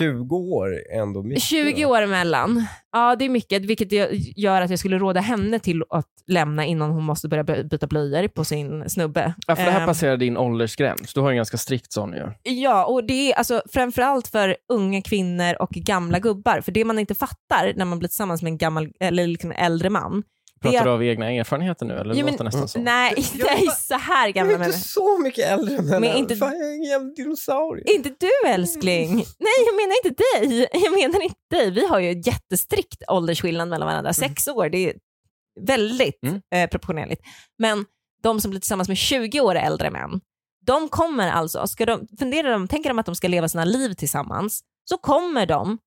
Speaker 2: 20 år är ändå mycket.
Speaker 1: 20 år emellan. Ja, det är mycket, vilket jag- gör att jag skulle råda henne till att lämna innan hon måste börja by- byta blöjor på sin snubbe.
Speaker 3: ja, för det här
Speaker 1: Ehm,
Speaker 3: passerar din åldersgräns. Du har ju en ganska strikt sån ju.
Speaker 1: Ja, och det är alltså framförallt för unga kvinnor och gamla gubbar. För det man inte fattar när man blir tillsammans med en gammal, eller liksom en äldre man.
Speaker 3: Pratar
Speaker 1: är-
Speaker 3: du av egna erfarenheter nu eller
Speaker 1: Jo, men-
Speaker 3: låter nästan så?
Speaker 1: Nej, nej, så här gamla
Speaker 2: jag är inte
Speaker 1: människor.
Speaker 2: så mycket äldre än henne.
Speaker 1: inte-
Speaker 2: Fan, jag är en jävla dinosaurie.
Speaker 1: Inte du älskling. Nej, jag menar inte dig. Jag menar inte dig. Vi har ju en jättestrikt åldersskillnad mellan varandra. Sex år, det är väldigt
Speaker 3: Mm.
Speaker 1: eh, proportionerligt. Men de som blir tillsammans med 20 år äldre män, de kommer alltså, ska de, funderar de, tänker de att de ska leva sina liv tillsammans, så kommer de,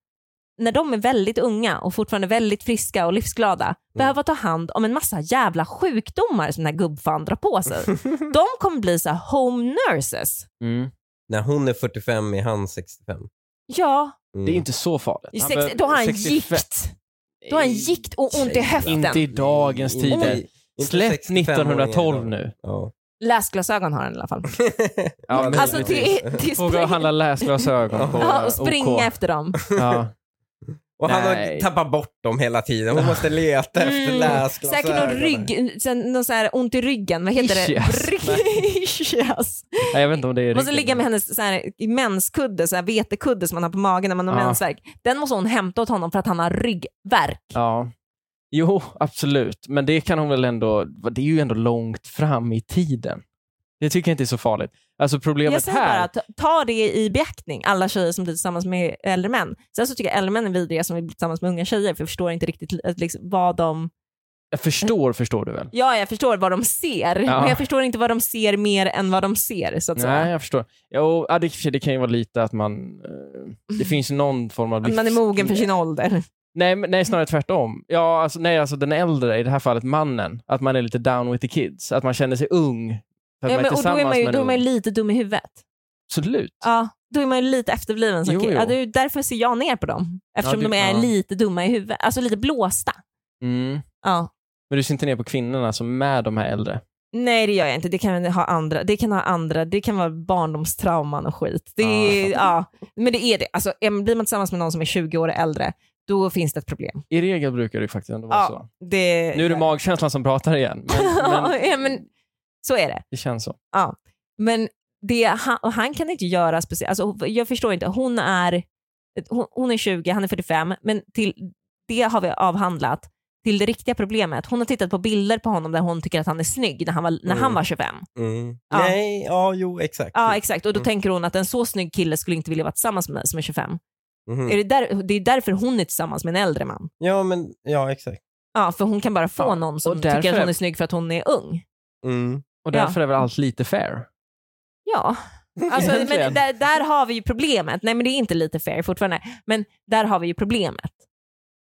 Speaker 1: när de är väldigt unga och fortfarande väldigt friska och livsglada, behöva ta hand om en massa jävla sjukdomar som den här gubbfan drar på sig. de kommer bli så här home nurses.
Speaker 3: Mm.
Speaker 2: När hon är 45 är han 65.
Speaker 1: Ja,
Speaker 2: Mm.
Speaker 3: Det är inte så farligt.
Speaker 1: I
Speaker 3: Han
Speaker 1: sex,
Speaker 3: behöver-
Speaker 1: då har han
Speaker 3: 65
Speaker 1: gikt. Då har han gikt och ont i höften.
Speaker 3: Inte i dagens
Speaker 2: Inte-
Speaker 3: tider.
Speaker 2: inte
Speaker 3: Släpp
Speaker 2: 65 år
Speaker 3: 1912
Speaker 2: idag.
Speaker 3: nu.
Speaker 2: Ja.
Speaker 1: Läsglasögon har han i alla fall.
Speaker 3: Ja, men-
Speaker 1: Alltså till, till
Speaker 3: Våga
Speaker 1: spring-
Speaker 3: handla läsglasögon på
Speaker 1: ja,
Speaker 3: eh,
Speaker 1: och springa
Speaker 3: OK.
Speaker 1: efter dem.
Speaker 3: Ja.
Speaker 2: Och han har
Speaker 3: Nej.
Speaker 2: tappat bort dem hela tiden. Hon måste leta efter
Speaker 1: Mm.
Speaker 2: läsglasögonen.
Speaker 1: Säkert någon rygg, sen, någon så här ont i ryggen, vad heter
Speaker 3: Ischias.
Speaker 1: det? Rygg- Ischias.
Speaker 3: Nej, jag vet inte om det är
Speaker 1: Måste
Speaker 3: ryggen.
Speaker 1: ligga med hennes så här, menskudde, så här, vetekudde som man har på magen när man har
Speaker 3: Ja.
Speaker 1: mensvärk. Den måste hon hämta åt honom för att han har ryggvärk.
Speaker 3: Ja. Jo, absolut. Men det kan hon väl ändå... Det är ju ändå långt fram i tiden. Det tycker jag inte är så farligt. Alltså
Speaker 1: Jag
Speaker 3: problemet
Speaker 1: säger
Speaker 3: här...
Speaker 1: bara, ta, ta det i beaktning, alla tjejer som blir tillsammans med äldre män. Sen så tycker jag äldre män är vidriga som vill bli tillsammans med unga tjejer, för jag förstår inte riktigt eh, liksom, vad de
Speaker 3: Jag förstår, förstår du väl?
Speaker 1: Ja, jag förstår vad de ser,
Speaker 3: Ja.
Speaker 1: men jag förstår inte vad de ser mer än vad de ser. Så att
Speaker 3: Nej,
Speaker 1: säga.
Speaker 3: jag förstår. Jo, ja, det, i och för sig, det kan ju vara lite att man... Eh, det finns någon form av...
Speaker 1: Att man är
Speaker 3: livs-
Speaker 1: mogen för sin ålder.
Speaker 3: Nej, men- nej, snarare tvärtom. Ja, alltså, nej, alltså den äldre, i det här fallet mannen, att man är lite down with the kids. Att man känner sig ung. För att
Speaker 1: Ja,
Speaker 3: man är
Speaker 1: men, och då
Speaker 3: tillsammans
Speaker 1: är man ju,
Speaker 3: med
Speaker 1: då är
Speaker 3: en
Speaker 1: man ju
Speaker 3: ung.
Speaker 1: lite dum i huvudet.
Speaker 3: Absolut.
Speaker 1: Ja, då är man ju lite efterbliven som
Speaker 3: Jo,
Speaker 1: kille. Ja,
Speaker 3: jo.
Speaker 1: det är ju därför ser jag ner på dem. Eftersom
Speaker 3: Ja, du-
Speaker 1: de är
Speaker 3: ja.
Speaker 1: lite dumma i huvudet, alltså lite blåsta.
Speaker 3: Mm.
Speaker 1: Ja.
Speaker 3: Men du ser inte ner på kvinnorna som är de här äldre.
Speaker 1: Nej det gör jag inte, det kan ha andra, det kan ha andra, det kan vara barndomstrauman och skit. Det är, ja. Men det är det, alltså, är- blir man tillsammans med någon som är 20 år äldre, då finns det ett problem.
Speaker 3: I regel brukar det ju faktiskt ändå vara
Speaker 1: Ja,
Speaker 3: så.
Speaker 1: Det,
Speaker 3: Nu är det magkänslan som pratar igen, men, men
Speaker 1: ja, men, så är det.
Speaker 3: det känns så.
Speaker 1: Men det, han, och han kan inte göra speciellt, alltså, jag förstår inte, hon är, hon, hon är 20, han är 45, men till, det har vi avhandlat. Till det riktiga problemet, hon har tittat på bilder på honom där hon tycker att han är snygg när han var, när han
Speaker 2: Mm.
Speaker 1: var 25.
Speaker 2: Mm.
Speaker 1: Ja.
Speaker 2: Nej, ja, jo, exakt.
Speaker 1: Ja exakt, och då
Speaker 2: Mm.
Speaker 1: tänker hon att en så snygg kille skulle inte vilja vara tillsammans med mig som är 25.
Speaker 2: Mhm.
Speaker 3: Mm.
Speaker 1: Är det, där, det är därför hon är tillsammans med en äldre man.
Speaker 2: Ja, men ja, exakt.
Speaker 1: Ja, för hon kan bara få
Speaker 3: Ja,
Speaker 1: någon
Speaker 3: och
Speaker 1: som
Speaker 3: därför
Speaker 1: tycker att hon
Speaker 3: är-
Speaker 1: är snygg för att hon är ung.
Speaker 2: Mm.
Speaker 3: Och
Speaker 1: Ja.
Speaker 3: därför är väl allt lite fair.
Speaker 1: Ja, alltså, men
Speaker 3: Egentligen.
Speaker 1: där, där har vi ju problemet. Nej men det är inte lite fair fortfarande, men där har vi ju problemet.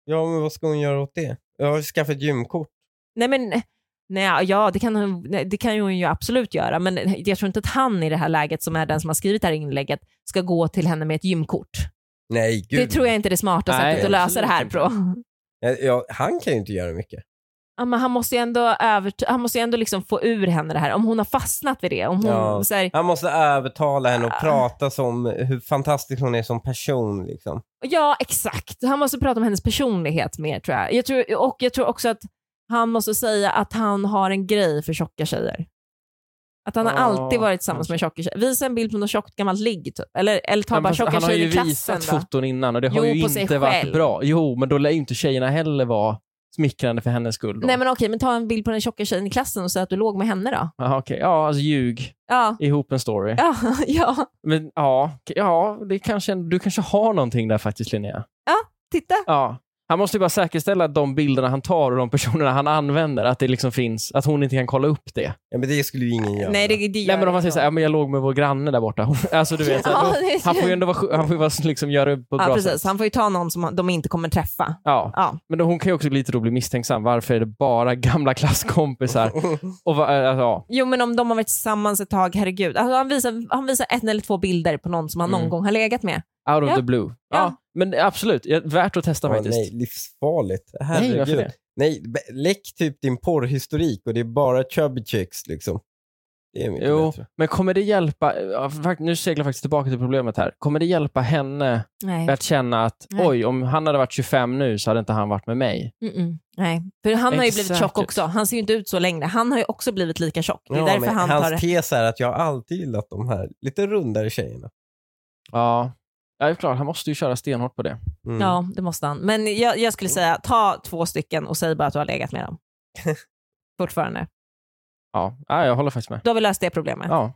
Speaker 2: Ja, men vad ska hon göra åt det? Jag har skaffat gymkort.
Speaker 1: Nej men, nej, ja det kan, hon- nej, det kan ju hon ju absolut göra, men jag tror inte att han i det här läget, som är den som har skrivit det här inlägget, ska gå till henne med ett gymkort.
Speaker 2: Nej, gud.
Speaker 1: Det tror jag inte är det smarta
Speaker 3: Nej,
Speaker 1: sättet att lösa det
Speaker 3: absolut
Speaker 1: här
Speaker 3: inte.
Speaker 1: på.
Speaker 2: Ja, ja, han kan ju inte göra mycket.
Speaker 1: Ja, men han måste ju ändå, övert- han måste ju ändå liksom få ur henne det här, om hon har fastnat vid det. Om hon,
Speaker 2: Ja.
Speaker 1: så här,
Speaker 2: Han måste övertala henne och
Speaker 1: Ah.
Speaker 2: prata som hur fantastisk hon är som person. Liksom.
Speaker 1: Ja, exakt. Han måste prata om hennes personlighet mer tror jag. jag tror, och jag tror också att han måste säga att han har en grej för tjocka tjejer. Att han har
Speaker 3: Ja,
Speaker 1: alltid varit tillsammans
Speaker 3: kanske.
Speaker 1: med tjocka tjejer. Visa en bild på något tjockt gammalt ligg typ. Eller, eller ta
Speaker 3: Men
Speaker 1: bara
Speaker 3: fast
Speaker 1: tjocka
Speaker 3: han har ju
Speaker 1: tjejer i klassen.
Speaker 3: visat
Speaker 1: då.
Speaker 3: foton innan och det har
Speaker 1: Jo,
Speaker 3: ju
Speaker 1: på sig
Speaker 3: inte varit
Speaker 1: själv.
Speaker 3: bra. Jo, men då lär ju inte tjejerna heller vara smickrande för hennes skull. Då.
Speaker 1: Nej men okej, men ta en bild på den tjocka tjejen i klassen och säg att du låg med henne då.
Speaker 3: Aha, okej. Ja, alltså ljug
Speaker 1: Ja,
Speaker 3: ihop en story.
Speaker 1: ja, ja.
Speaker 3: Men ja, k- ja det kanske, du kanske har någonting där faktiskt Linnea.
Speaker 1: titta.
Speaker 3: Ja. Han måste ju bara säkerställa att de bilderna han tar och de personerna han använder, att det liksom finns, att hon inte kan kolla upp det.
Speaker 2: Ja, men det skulle ju ingen göra.
Speaker 1: Nej, det, det gör
Speaker 3: Nej men om man
Speaker 1: det
Speaker 3: säger
Speaker 1: så.
Speaker 3: såhär, ja, men jag låg med vår granne där borta. Hon- alltså du vet, så här,
Speaker 1: Ja,
Speaker 3: då,
Speaker 1: det är så-
Speaker 3: han får ju ändå vara, sj- han får ju vara, liksom, göra upp på ett
Speaker 1: Ja,
Speaker 3: bra
Speaker 1: precis.
Speaker 3: sätt.
Speaker 1: Han får ju ta någon som de inte kommer träffa.
Speaker 3: Ja.
Speaker 1: Ja.
Speaker 3: Men då, hon kan ju också lite då bli misstänksam. Varför är det bara gamla klasskompisar? Och va, alltså, ja.
Speaker 1: Jo, men om de har varit tillsammans ett tag, herregud. Alltså, han, visar, han visar en eller två bilder på någon som han någon
Speaker 3: Mm.
Speaker 1: gång har legat med.
Speaker 3: Out of
Speaker 1: Ja.
Speaker 3: the blue. Ja.
Speaker 1: Ja.
Speaker 3: Men absolut, ja, värt att testa
Speaker 2: Ja,
Speaker 3: faktiskt.
Speaker 2: nej, livsfarligt.
Speaker 3: Nej, varför
Speaker 2: Herregud.
Speaker 3: det?
Speaker 2: Nej, be- läck typ din porrhistorik och det är bara chubby chicks liksom. Det är mycket
Speaker 3: Jo,
Speaker 2: bättre.
Speaker 3: men kommer det hjälpa, eh, ja, fakt- nu seglar jag faktiskt tillbaka till problemet här, kommer det hjälpa henne
Speaker 1: Nej.
Speaker 3: att känna att
Speaker 1: Nej.
Speaker 3: oj, om han hade varit 25 nu så hade inte han varit med mig?
Speaker 1: Mm-mm. Nej. För han har ju blivit
Speaker 3: Exakt.
Speaker 1: tjock också. Han ser ju inte ut så längre. Han har ju också blivit lika tjock. Det är
Speaker 2: Ja,
Speaker 1: därför
Speaker 2: men
Speaker 1: han tar
Speaker 2: hans
Speaker 1: det.
Speaker 2: tes är att jag har alltid gillat de här lite rundare tjejerna.
Speaker 3: Ja, ja det är klart, han måste ju köra stenhårt på det.
Speaker 2: Mm.
Speaker 1: Ja, det måste han. Men jag, jag skulle säga, ta två stycken och säg bara att du har legat med dem. Fortfarande.
Speaker 3: Ja, ja jag håller faktiskt med.
Speaker 1: Då har vi löst det problemet.
Speaker 3: Ja.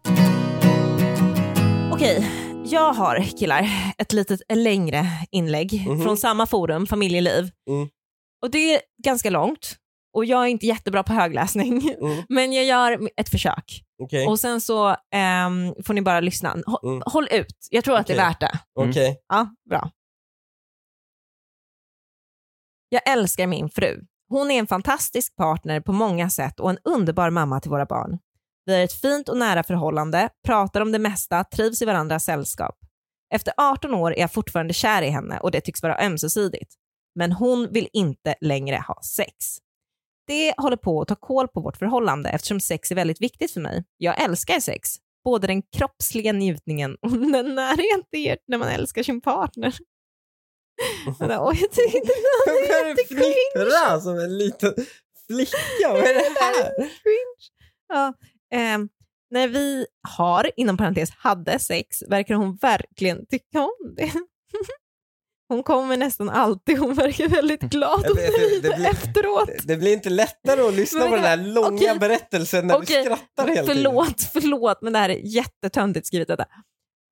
Speaker 1: Okej, jag har killar ett litet längre inlägg
Speaker 2: Mhm.
Speaker 1: från samma forum, Familjeliv.
Speaker 2: Mm.
Speaker 1: Och det är ganska långt och jag är inte jättebra på högläsning.
Speaker 2: Mm,
Speaker 1: Men jag gör ett försök
Speaker 2: Okej,
Speaker 1: och sen så ehm, får ni bara lyssna. Hå-
Speaker 2: Mm.
Speaker 1: Håll ut, jag tror att det är
Speaker 2: Okej.
Speaker 1: värt det.
Speaker 3: Mm.
Speaker 2: okej.
Speaker 1: Ja, bra. Jag älskar min fru. Hon är en fantastisk partner på många sätt och en underbar mamma till våra barn. Vi har ett fint och nära förhållande, pratar om det mesta, trivs i varandras sällskap. Efter 18 år är jag fortfarande kär i henne och det tycks vara ömsesidigt. Men hon vill inte längre ha sex. Det håller på att ta koll på vårt förhållande eftersom sex är väldigt viktigt för mig. Jag älskar sex, både den kroppsliga njutningen och den närhet det ger när man älskar sin partner. Men, oj, jag tyckte inte
Speaker 2: Vad
Speaker 1: det var
Speaker 2: är det
Speaker 1: jättecringe.
Speaker 2: fnittra som en liten flicka? Vad är det här?
Speaker 1: Cringe. Ja, ehm, när vi har, inom parentes, hade sex verkar hon verkligen tycka om det. Hon kommer nästan alltid, hon verkar väldigt glad
Speaker 2: Mm. Jag
Speaker 1: och
Speaker 2: vet, det-
Speaker 1: nöjd
Speaker 2: det blir-
Speaker 1: efteråt.
Speaker 2: Det blir inte lättare att lyssna
Speaker 1: Men
Speaker 2: på den
Speaker 1: vänta,
Speaker 2: här långa
Speaker 1: okej.
Speaker 2: berättelsen när
Speaker 1: Okej,
Speaker 2: du skrattar hela tiden.
Speaker 1: Förlåt, förlåt, men det här är jättetöntigt skrivet detta.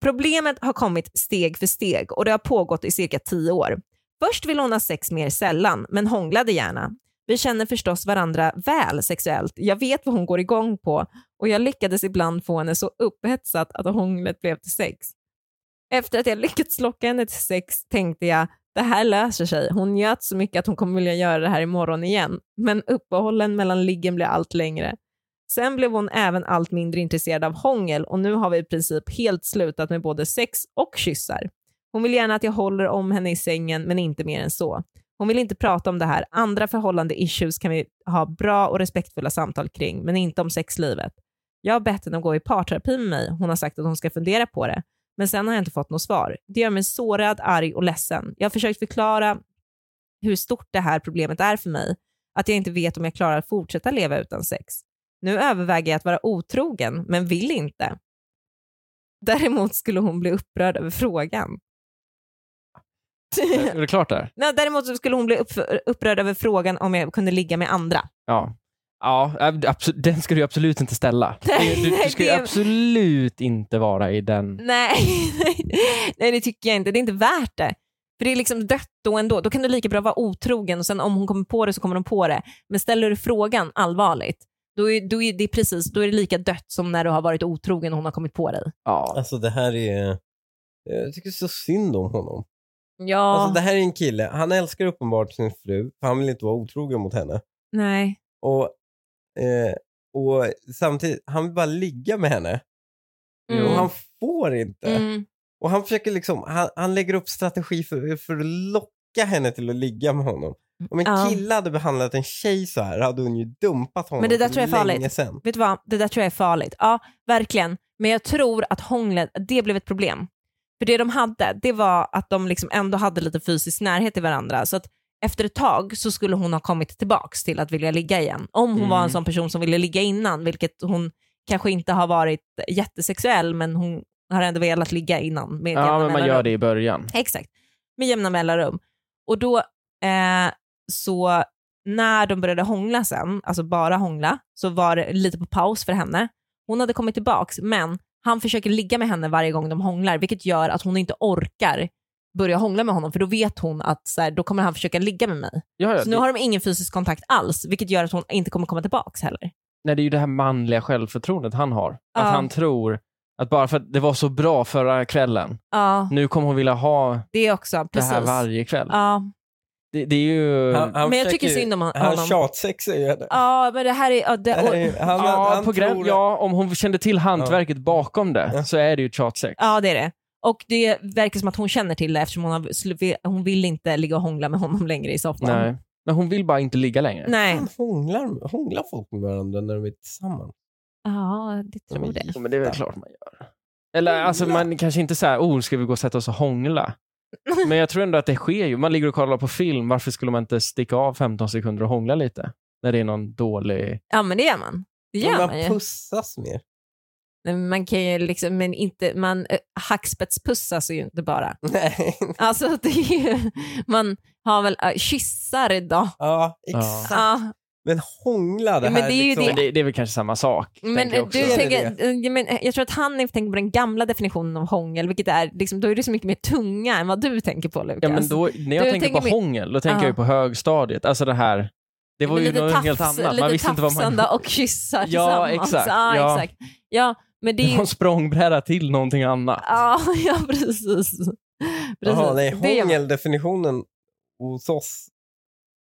Speaker 1: Problemet har kommit steg för steg och det har pågått i cirka tio år. Först ville hon ha sex mer sällan, men hånglade gärna. Vi känner förstås varandra väl sexuellt. Jag vet vad hon går igång på och jag lyckades ibland få henne så upphetsad att hånglet blev till sex. Efter att jag lyckats locka henne till sex tänkte jag, det här löser sig. Hon njöt så mycket att hon kommer vilja göra det här imorgon igen. Men uppehållen mellan liggen blir allt längre. Sen blev hon även allt mindre intresserad av hångel och nu har vi i princip helt slutat med både sex och kyssar. Hon vill gärna att jag håller om henne i sängen men inte mer än så. Hon vill inte prata om det här. Andra förhållande issues kan vi ha bra och respektfulla samtal kring men inte om sexlivet. Jag har bett henne att gå i parterapi med mig. Hon har sagt att hon ska fundera på det. Men sen har jag inte fått något svar. Det gör mig sårad, arg och ledsen. Jag har försökt förklara hur stort det här problemet är för mig. Att jag inte vet om jag klarar att fortsätta leva utan sex. Nu överväger jag att vara otrogen, men vill inte. Däremot skulle hon bli upprörd över frågan.
Speaker 3: Är det klart där?
Speaker 1: Nej, däremot så skulle hon bli upp, upprörd över frågan om jag kunde ligga med andra.
Speaker 3: Ja. Ja, ab- absolut, den ska du absolut inte ställa.
Speaker 1: Nej,
Speaker 3: du, du
Speaker 1: nej,
Speaker 3: ska ju
Speaker 1: det-
Speaker 3: absolut inte vara i den.
Speaker 1: Nej, nej, det tycker jag inte. Det är inte värt det. För det är liksom dött då ändå. Då kan du lika bra vara otrogen och sen om hon kommer på det så kommer hon på det. Men ställer du frågan allvarligt, då är, då är det precis, då är det lika dött som när du har varit otrogen och hon har kommit på dig.
Speaker 3: Ja.
Speaker 2: Alltså det här är... Jag tycker så synd om honom.
Speaker 1: Ja,
Speaker 2: Alltså det här är en kille, han älskar uppenbart sin fru för han vill inte vara otrogen mot henne.
Speaker 1: nej.
Speaker 2: Och, eh, och samtidigt, han vill bara ligga med henne. Och han får inte.
Speaker 1: Mm.
Speaker 2: Och han försöker liksom, han, han lägger upp strategi för, för att locka henne till att ligga med honom. Om en
Speaker 1: Ja.
Speaker 2: kille hade behandlat en tjej så här hade hon ju dumpat honom
Speaker 1: Men det där
Speaker 2: för
Speaker 1: tror jag är
Speaker 2: länge
Speaker 1: farligt.
Speaker 2: sedan.
Speaker 1: Vet du vad, det där tror jag är farligt. Ja, verkligen. Men jag tror att hånglet, att det blev ett problem. För det de hade, det var att de liksom ändå hade lite fysisk närhet till varandra. Så att efter ett tag så skulle hon ha kommit tillbaks till att vilja ligga igen. Om hon
Speaker 3: Mm.
Speaker 1: var en sån person som ville ligga innan, vilket hon kanske inte har varit jättesexuell, men hon har ändå velat ligga innan. Med
Speaker 3: ja,
Speaker 1: jämna
Speaker 3: men man
Speaker 1: mellanrum.
Speaker 3: gör det i början.
Speaker 1: Exakt, med jämna mellanrum. Och då eh, så när de började hångla sen, alltså bara hångla, så var det lite på paus för henne. Hon hade kommit tillbaks men han försöker ligga med henne varje gång de hånglar vilket gör att hon inte orkar börja hångla med honom för då vet hon att så här, då kommer han försöka ligga med mig.
Speaker 3: Ja, ja,
Speaker 1: Så nu
Speaker 3: det-
Speaker 1: har de ingen fysisk kontakt alls, vilket gör att hon inte kommer komma tillbaka heller.
Speaker 3: Nej, det är ju det här manliga självförtroendet han har.
Speaker 1: Ja.
Speaker 3: Att han tror att bara för att det var så bra förra kvällen,
Speaker 1: Ja,
Speaker 3: nu kommer hon vilja ha
Speaker 1: det också. Precis.
Speaker 3: det här varje kväll.
Speaker 1: ja.
Speaker 3: Det, det är ju...
Speaker 2: Han, han
Speaker 1: Men jag
Speaker 2: försöker
Speaker 1: tycker
Speaker 2: ju-
Speaker 1: synd om hon-
Speaker 2: Han
Speaker 1: honom.
Speaker 2: tjatsexar ju henne.
Speaker 1: Ja, men det här är... Ja, det, och,
Speaker 2: Nej, Han,
Speaker 3: ja,
Speaker 2: han
Speaker 3: på
Speaker 2: tror
Speaker 3: grän,
Speaker 2: att-
Speaker 3: ja, om hon kände till hantverket bakom det
Speaker 2: Ja.
Speaker 3: så är det ju tjatsex.
Speaker 1: ja, det är det. Och det verkar som att hon känner till det eftersom hon, har, sl- hon vill inte ligga och hångla med honom längre i soffan.
Speaker 3: Nej. Men hon vill bara inte ligga längre.
Speaker 1: Nej.
Speaker 2: Han hånglar, hånglar folk med varandra när de är tillsammans.
Speaker 1: Ja, det tror
Speaker 2: Men
Speaker 1: jag det.
Speaker 3: Jo, men det är väl klart man gör. Eller
Speaker 1: Mm,
Speaker 3: alltså man kanske inte såhär, oh, ska vi gå och sätta oss och hångla? Men jag tror ändå att det sker ju. Man ligger och kollar på film, varför skulle man inte sticka av 15 sekunder och hångla lite? När det är någon dålig...
Speaker 1: Ja, men det gör man. Det gör
Speaker 2: Men
Speaker 1: man,
Speaker 2: man
Speaker 1: ju.
Speaker 2: pussas mer.
Speaker 1: Nej, men Man kan ju liksom, men inte, man eh, hackspetspussas ju inte bara.
Speaker 2: Nej.
Speaker 1: Alltså det är ju, man har väl, äh, kyssar idag.
Speaker 2: Ja, exakt.
Speaker 1: Ja,
Speaker 2: Men hångla det
Speaker 1: Ja,
Speaker 2: här
Speaker 1: men det är ju
Speaker 2: liksom.
Speaker 3: Men det, det är väl kanske samma sak.
Speaker 1: men
Speaker 3: tänker jag
Speaker 1: eh,
Speaker 3: också.
Speaker 1: du
Speaker 2: Är det
Speaker 1: tänker, eh, ja, men, eh, jag tror att han är- tänker på den gamla definitionen av hångel, vilket är, liksom, då är det så mycket mer tunga än vad du tänker på Lukas.
Speaker 3: Ja, men då, när jag
Speaker 1: Du
Speaker 3: tänker på
Speaker 1: tänker mer-
Speaker 3: hångel, då tänker
Speaker 1: Ja.
Speaker 3: jag ju på högstadiet. Alltså det här, det var
Speaker 1: Men
Speaker 3: ju
Speaker 1: lite
Speaker 3: något
Speaker 1: tafs-
Speaker 3: helt annat. Man
Speaker 1: Lite
Speaker 3: visste inte vad man...
Speaker 1: tafsande och kyssar
Speaker 3: Ja,
Speaker 1: tillsammans.
Speaker 3: exakt.
Speaker 1: Ja,
Speaker 3: Ja.
Speaker 1: exakt. Ja, men det är
Speaker 3: Det var
Speaker 1: ju,
Speaker 3: en språngbräda till någonting annat.
Speaker 1: ja, ja, precis. precis.
Speaker 2: Jaha, nej,
Speaker 1: Det gör man.
Speaker 2: hångeldefinitionen hos oss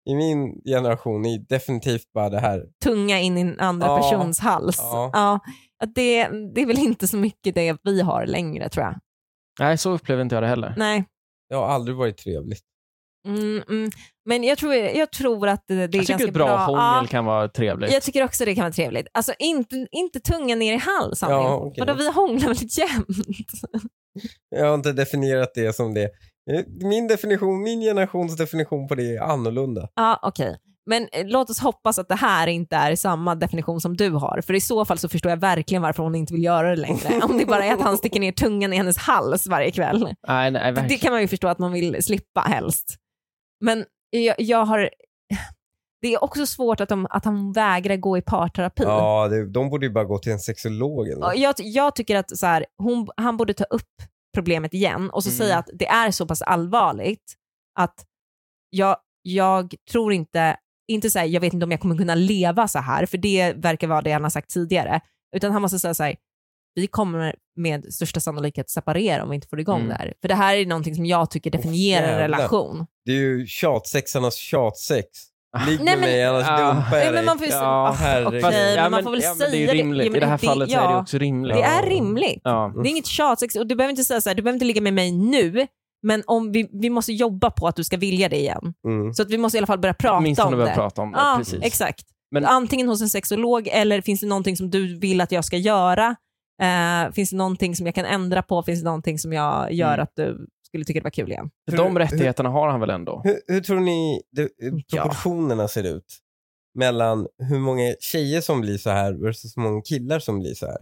Speaker 2: i min generation är definitivt bara det här.
Speaker 1: tunga in i en andra
Speaker 2: Ja.
Speaker 1: persons hals.
Speaker 2: Ja.
Speaker 1: Ja. att det, det är väl inte så mycket det vi har längre tror jag.
Speaker 3: Nej, så upplever inte jag det heller.
Speaker 1: Nej.
Speaker 2: Det har aldrig varit trevligt.
Speaker 1: Mm, mm. Men jag tror, jag tror att det, det är
Speaker 3: jag tycker
Speaker 1: ganska
Speaker 3: ett bra, hångel
Speaker 1: Ja,
Speaker 3: kan vara trevligt.
Speaker 1: jag tycker också det kan vara trevligt. Alltså inte, inte tunga ner i hals, Annie.
Speaker 2: Ja, okej.
Speaker 1: Vadå, vi hånglar väl jämt?
Speaker 2: Jag har inte definierat det som det. Eh, Min definition, min generations definition på det är annorlunda.
Speaker 1: Ja, okej. Men eh, låt oss hoppas att det här inte är samma definition som du har. För i så fall så förstår jag verkligen varför hon inte vill göra det längre. Om det bara är att han sticker ner tungan i hennes hals varje kväll.
Speaker 3: Nej, nej,
Speaker 1: Det
Speaker 3: verkligen.
Speaker 1: kan man ju förstå att man vill slippa helst. Men jag, jag har... Det är också svårt att, de, att han vägrar gå i parterapi.
Speaker 2: Ja, det, de borde ju bara gå till en sexolog eller
Speaker 1: Och
Speaker 2: något.
Speaker 1: Jag, jag tycker att så här, hon, han borde ta upp problemet igen och så
Speaker 3: Mm.
Speaker 1: säga att det är så pass allvarligt att jag, jag tror inte, inte så här, jag vet inte om jag kommer kunna leva så här, för det verkar vara det han har sagt tidigare, utan han måste säga så här, vi kommer med största sannolikhet separera om vi inte får igång
Speaker 3: Mm.
Speaker 1: det här. För det här är någonting som jag tycker definierar en
Speaker 2: jävlar.
Speaker 1: relation.
Speaker 2: Det är ju tjatsexarnas tjatsex. Ligg med
Speaker 1: Nej, men-
Speaker 2: mig annars
Speaker 3: Ah.
Speaker 2: dumpar
Speaker 1: Nej,
Speaker 2: jag
Speaker 1: men
Speaker 2: dig.
Speaker 1: man får ju säga,
Speaker 3: Ja,
Speaker 1: ah, okej,
Speaker 2: herregud.
Speaker 1: men
Speaker 3: Ja,
Speaker 1: man får väl
Speaker 3: ja, men
Speaker 1: säga
Speaker 3: det är ju rimligt.
Speaker 1: Ja, men
Speaker 3: I det här fallet så är det
Speaker 1: ja,
Speaker 3: ju också rimligt.
Speaker 1: Det är rimligt.
Speaker 3: Ja.
Speaker 1: Det är inget tjatsex och du behöver inte säga så här, du behöver inte ligga med mig nu, men om vi, vi måste jobba på att du ska vilja det igen.
Speaker 2: Mm.
Speaker 1: Så att vi måste i alla fall börja prata
Speaker 3: Minst om
Speaker 1: om
Speaker 3: börjar
Speaker 1: det.
Speaker 3: prata om det.
Speaker 1: ja,
Speaker 3: precis.
Speaker 1: exakt.
Speaker 3: Men-
Speaker 1: Antingen hos en sexolog eller finns det någonting som du vill att jag ska göra? Eh, finns det någonting som jag kan ändra på? Finns det någonting som jag gör
Speaker 3: Mm.
Speaker 1: att du skulle tycka det var kul igen?
Speaker 3: För De rättigheterna har han väl ändå?
Speaker 2: Hur, hur tror ni det, eh,
Speaker 1: Ja.
Speaker 2: proportionerna ser ut mellan hur många tjejer som blir så här versus hur många killar som blir så här?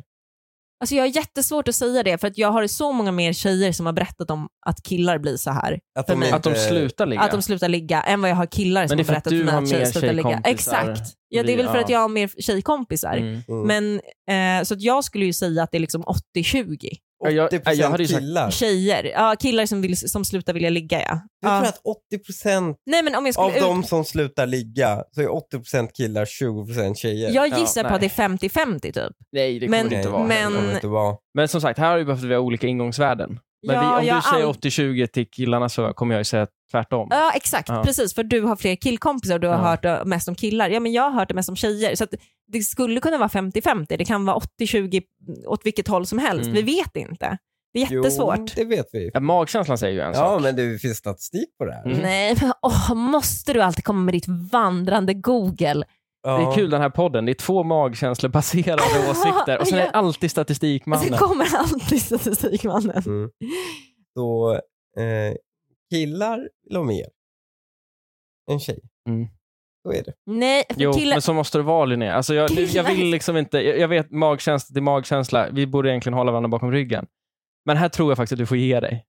Speaker 1: Alltså jag har jättesvårt att säga det för att jag har så många mer tjejer som har berättat om att killar blir så här.
Speaker 2: Att
Speaker 1: För mig.
Speaker 3: Att de slutar ligga?
Speaker 1: Eh, Att de slutar ligga än vad jag har killar som
Speaker 3: det är
Speaker 1: har
Speaker 3: för att
Speaker 1: berättat
Speaker 3: du
Speaker 1: för mig
Speaker 3: har
Speaker 1: att tjejer
Speaker 3: mer
Speaker 1: slutar ligga.
Speaker 3: tjejkompisar.
Speaker 1: Exakt. Ja, det
Speaker 3: Vi-
Speaker 1: är väl för
Speaker 3: ja.
Speaker 1: att jag har mer tjejkompisar.
Speaker 3: Mm.
Speaker 2: Mm.
Speaker 1: Men, eh, så att jag skulle ju säga att det är liksom 80-20
Speaker 3: Ja, jag-
Speaker 2: 80%
Speaker 3: jag hade ju sagt-
Speaker 2: killar.
Speaker 1: tjejer. Ja, killar som, vill, som slutar vilja ligga ja.
Speaker 2: Du tror
Speaker 1: ja.
Speaker 2: att 80%
Speaker 1: Nej men om jag
Speaker 2: av
Speaker 1: skulle ut...
Speaker 2: de som slutar ligga så är 80% killar, 20% tjejer.
Speaker 1: Jag
Speaker 3: Ja,
Speaker 1: gissar på
Speaker 3: nej.
Speaker 1: att det är 50-50 typ.
Speaker 3: Nej, det
Speaker 1: Men-
Speaker 3: kommer det inte vara.
Speaker 1: men-
Speaker 2: men... Det kommer inte vara.
Speaker 3: Men som sagt, här har vi behövt vi ha olika ingångsvärden. Men
Speaker 1: ja,
Speaker 3: vi, om du
Speaker 1: jag
Speaker 3: säger
Speaker 1: an-
Speaker 3: 80-20 till killarna så kommer jag ju säga tvärtom.
Speaker 1: Ja exakt,
Speaker 3: Ja.
Speaker 1: precis. För du har fler killkompisar och du har
Speaker 3: Ja.
Speaker 1: hört det mest om killar. Ja men jag har hört det mest om tjejer. Så att det skulle kunna vara 50-50. Det kan vara 80-20 åt vilket håll som helst.
Speaker 3: Mm.
Speaker 1: Vi vet inte. Det är jättesvårt.
Speaker 2: Jo, det vet vi.
Speaker 3: Ja, magkänslan säger ju en sak.
Speaker 2: Ja, men det finns statistik på det här.
Speaker 3: Mm.
Speaker 1: Nej men åh, måste du alltid komma med ditt vandrande Google?
Speaker 2: Ja.
Speaker 3: Det är kul den här podden. Det är två magkänslobaserade åsikter och sen är det alltid
Speaker 1: Sen
Speaker 3: statistikmannen.
Speaker 1: kommer alltid statistikmannen.
Speaker 2: Mm. Så eh, killar vill ha mer än tjej.
Speaker 3: Mm.
Speaker 2: Så är det.
Speaker 1: Nej, för
Speaker 3: Jo,
Speaker 1: killar...
Speaker 3: men så måste det vara Linnea. Alltså jag, nu, jag vill
Speaker 1: Killar.
Speaker 3: liksom inte, jag, jag vet magkänsla till magkänsla, vi borde egentligen hålla varandra bakom ryggen. Men här tror jag faktiskt att du får ge dig.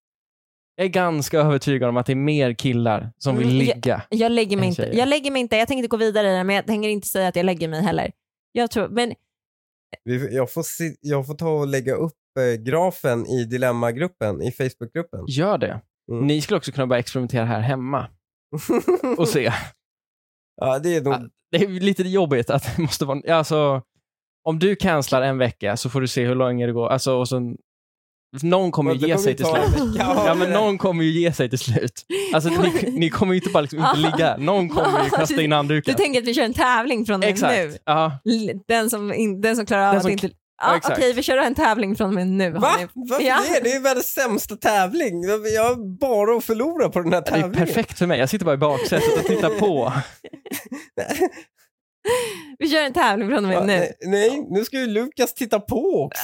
Speaker 3: Jag är ganska övertygad om att det är mer killar som vill
Speaker 1: Mm, jag-
Speaker 3: ligga.
Speaker 1: Jag lägger, mig
Speaker 3: Än
Speaker 1: inte.
Speaker 3: tjejer.
Speaker 1: jag lägger mig inte. Jag tänker inte gå vidare i det, men jag tänker inte säga att jag lägger mig heller. Jag tror, men
Speaker 2: Vi, jag, får se, jag får ta och lägga upp eh, grafen i dilemmagruppen, i Facebookgruppen.
Speaker 3: Gör det.
Speaker 2: Mm.
Speaker 3: Ni skulle också kunna börja experimentera här hemma och se.
Speaker 2: ja, det är nog...
Speaker 3: Det är ju lite jobbigt att det måste vara... Alltså, om du cancelar en vecka så får du se hur länge det går. Alltså, och så, någon kommer ju
Speaker 2: Det
Speaker 3: ge sig
Speaker 2: ju
Speaker 3: till
Speaker 2: ta en
Speaker 3: slut.
Speaker 2: vecka.
Speaker 3: Ja, men någon kommer ju ge sig till slut. Alltså, ni, ni kommer ju inte bara liksom inte ligga. Någon kommer ju kasta in
Speaker 1: Du
Speaker 3: handduken.
Speaker 1: tänker att vi kör en tävling från och med nu?
Speaker 3: Exakt. Ja.
Speaker 1: L- Den som, in, den som klarar av
Speaker 3: Den
Speaker 1: att
Speaker 3: som-
Speaker 1: inte... Ja, Okej,
Speaker 3: exakt.
Speaker 1: vi kör en tävling från och med nu.
Speaker 2: Va?
Speaker 1: hörni.
Speaker 2: Varför
Speaker 1: Ja.
Speaker 2: det? Det är ju världens sämsta tävling. Jag har bara att förlora på den här
Speaker 3: Det är
Speaker 2: tävlingen.
Speaker 3: perfekt för mig. Jag sitter bara i baksätet och tittar på.
Speaker 1: Vi kör en tävling från och med
Speaker 2: Ja,
Speaker 1: nu.
Speaker 2: nej, nej, nu ska ju Lukas titta på också.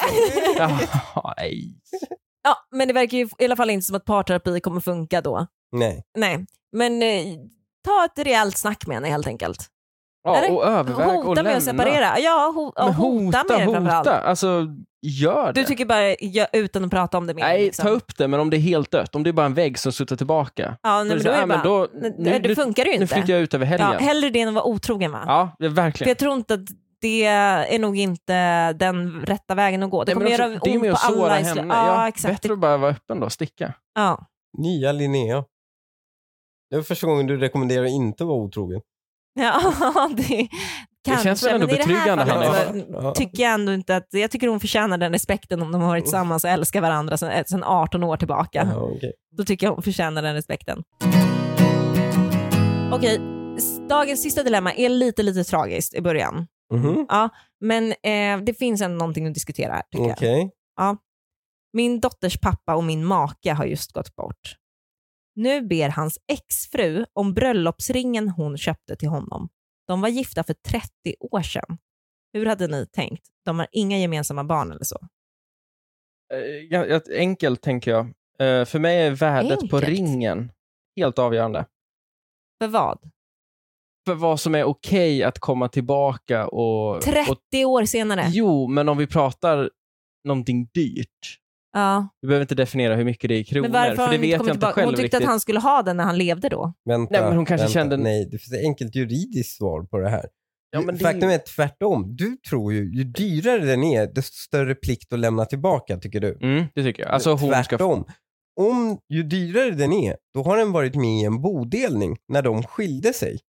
Speaker 3: Jaha, nej.
Speaker 1: Ja, men det verkar ju i alla fall inte som att parterapi kommer funka då.
Speaker 2: nej.
Speaker 1: Nej, men eh, ta ett rejält snack med henne helt enkelt.
Speaker 3: Ja,
Speaker 1: Eller?
Speaker 3: och överväg och
Speaker 1: Hota med
Speaker 3: lämna.
Speaker 1: att separera. Ja, ho- ja,
Speaker 3: Men
Speaker 1: hota, med det framförallt.
Speaker 3: hota. Alltså, gör det.
Speaker 1: Du tycker bara ja, utan att prata om det mer?
Speaker 3: Nej,
Speaker 1: liksom.
Speaker 3: ta upp det, men om det är helt dött, om det är bara en vägg som suttar tillbaka.
Speaker 1: Ja, nej, men då är det
Speaker 3: Ja, men
Speaker 1: bara,
Speaker 3: då-
Speaker 1: nej,
Speaker 3: nu-
Speaker 1: det funkar ju
Speaker 3: Nu
Speaker 1: inte.
Speaker 3: flyttar jag ut över helgen.
Speaker 1: ja,
Speaker 3: Ja,
Speaker 1: hellre det än att vara otrogen va?
Speaker 3: det-
Speaker 1: För
Speaker 3: verkligen.
Speaker 1: jag tror inte att det är nog inte den rätta vägen att gå. Det
Speaker 3: Nej, men
Speaker 1: kommer göra
Speaker 3: också, det är
Speaker 1: ont
Speaker 3: med
Speaker 1: på
Speaker 3: att såra
Speaker 1: alla. i
Speaker 3: henne.
Speaker 1: slu-
Speaker 3: Ja,
Speaker 1: Ja, exakt.
Speaker 3: Bättre att bara vara öppen då, sticka.
Speaker 1: Ja.
Speaker 2: Nya Linnea. Det var första gången du rekommenderar att inte vara otrogen.
Speaker 1: Ja, det kanske.
Speaker 3: känns väl ändå
Speaker 1: men i det här
Speaker 3: betryggande,
Speaker 1: fallet
Speaker 2: Hanna?
Speaker 1: så
Speaker 2: Ja.
Speaker 1: Tycker jag ändå inte att, jag tycker hon förtjänar den respekten om de har varit tillsammans och älskar varandra sedan eh, sedan 18 år tillbaka.
Speaker 2: Ja, okej.
Speaker 1: Då tycker jag hon förtjänar den respekten. Okej, s- dagens sista dilemma är lite, lite tragiskt i början.
Speaker 2: Mhm,
Speaker 1: Men eh, det finns ändå någonting att diskutera här tycker jag.
Speaker 2: Okej.
Speaker 1: Min dotters pappa och min make har just gått bort. Nu ber hans exfru om bröllopsringen hon köpte till honom. De var gifta för 30 år sedan. Hur hade ni tänkt? De har inga gemensamma barn eller så.
Speaker 3: Eh, ja, ja, Enkelt, tänker jag. Eh, För mig är värdet på
Speaker 1: Enkelt.
Speaker 3: ringen helt avgörande.
Speaker 1: För vad?
Speaker 3: För vad som är okej att komma tillbaka och... och
Speaker 1: 30 år senare?
Speaker 3: jo, men om vi pratar någonting dyrt.
Speaker 1: Ja.
Speaker 3: Vi behöver inte definiera hur mycket det är i kronor,
Speaker 1: Men varför
Speaker 3: för
Speaker 1: har
Speaker 3: det
Speaker 1: hon inte
Speaker 3: vet jag
Speaker 1: kommit
Speaker 3: inte
Speaker 1: tillbaka? Hon
Speaker 3: själv
Speaker 1: tyckte
Speaker 3: riktigt.
Speaker 1: att han skulle ha den när han levde då.
Speaker 2: Vänta.
Speaker 3: Nej, men hon kanske
Speaker 2: vänta.
Speaker 3: kände-
Speaker 2: Nej, det finns ett enkelt juridiskt svar på det här.
Speaker 3: Ja, men det-
Speaker 2: Faktum är tvärtom. Du tror ju, ju dyrare den är, desto större plikt att lämna tillbaka, tycker du.
Speaker 3: Mm, det tycker jag. Alltså, hon ska
Speaker 2: Tvärtom. Om, ju dyrare den är, då har den varit med i en bodelning när de skilde sig.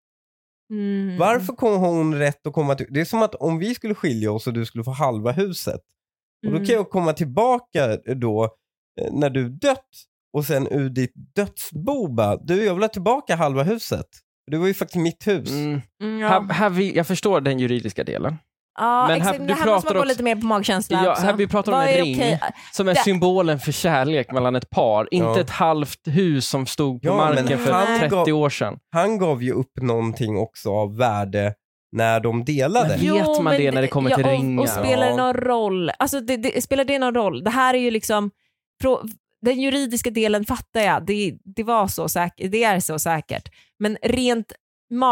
Speaker 1: Mm.
Speaker 2: Varför kom hon rätt att komma till... Det är som att om vi skulle skilja oss och du skulle få halva huset. Och då
Speaker 1: Mm.
Speaker 2: kan jag komma tillbaka då eh, när du dött och sen ur ditt dödsbo bara, du jag vill ha tillbaka halva huset. Det var ju faktiskt mitt hus.
Speaker 3: Mm.
Speaker 1: Mm, ja.
Speaker 3: Här, här vi, jag förstår den juridiska delen.
Speaker 1: ja,
Speaker 3: men
Speaker 1: exakt.
Speaker 3: här-
Speaker 1: Men
Speaker 3: du
Speaker 1: här måste
Speaker 3: pratar
Speaker 1: man gå
Speaker 3: också-
Speaker 1: lite mer på magkänsla
Speaker 3: Ja,
Speaker 1: också.
Speaker 3: här vi pratar om
Speaker 1: Vad
Speaker 3: en
Speaker 1: är
Speaker 3: ring.
Speaker 1: okej?
Speaker 3: Som är
Speaker 1: Det-
Speaker 3: symbolen för kärlek mellan ett par. Inte
Speaker 2: Ja.
Speaker 3: ett halvt hus som stod på
Speaker 2: Ja, men
Speaker 3: marken för
Speaker 1: han
Speaker 3: 30
Speaker 2: gav-
Speaker 3: år sedan.
Speaker 2: Han gav ju upp någonting också av värde när de delade.
Speaker 3: Men vi- Vet man
Speaker 1: men
Speaker 3: det när det kommer till
Speaker 1: och-
Speaker 3: ringar?
Speaker 1: Och spelar det
Speaker 2: Ja.
Speaker 1: någon roll? Alltså, det, det, spelar det någon roll? Det här är ju liksom... frå- Den juridiska delen fattar jag, det, det, var så säkert, det är så säkert. Men rent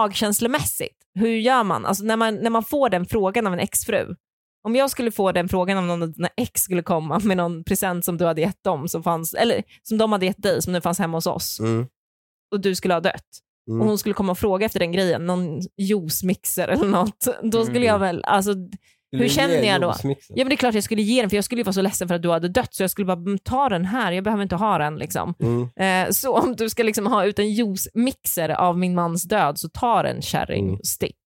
Speaker 1: magkänslomässigt, hur gör man? Alltså när man, när man får den frågan av en exfru. Om jag skulle få den frågan om någon av dina ex skulle komma med någon present som du hade gett dem, som fanns, eller som de hade gett dig, som nu fanns hemma hos oss,
Speaker 2: Mm.
Speaker 1: och du skulle ha dött
Speaker 2: Mm.
Speaker 1: och hon skulle komma och fråga efter den grejen, någon juicemixer eller något, då skulle
Speaker 3: Mm.
Speaker 1: jag väl, alltså,
Speaker 2: Skulle
Speaker 1: hur
Speaker 2: du
Speaker 1: känner
Speaker 2: ge
Speaker 1: jag då?
Speaker 2: jordgubbsmixen?
Speaker 1: ja men det är klart jag skulle ge den för jag skulle ju vara så ledsen för att du hade dött så jag skulle bara, "Mm, ta den här, jag behöver inte ha den liksom.
Speaker 2: Mm.
Speaker 1: Eh, så om du ska liksom ha ut en juicemixer av min mans död så ta den kärring,
Speaker 2: Mm.
Speaker 1: stick.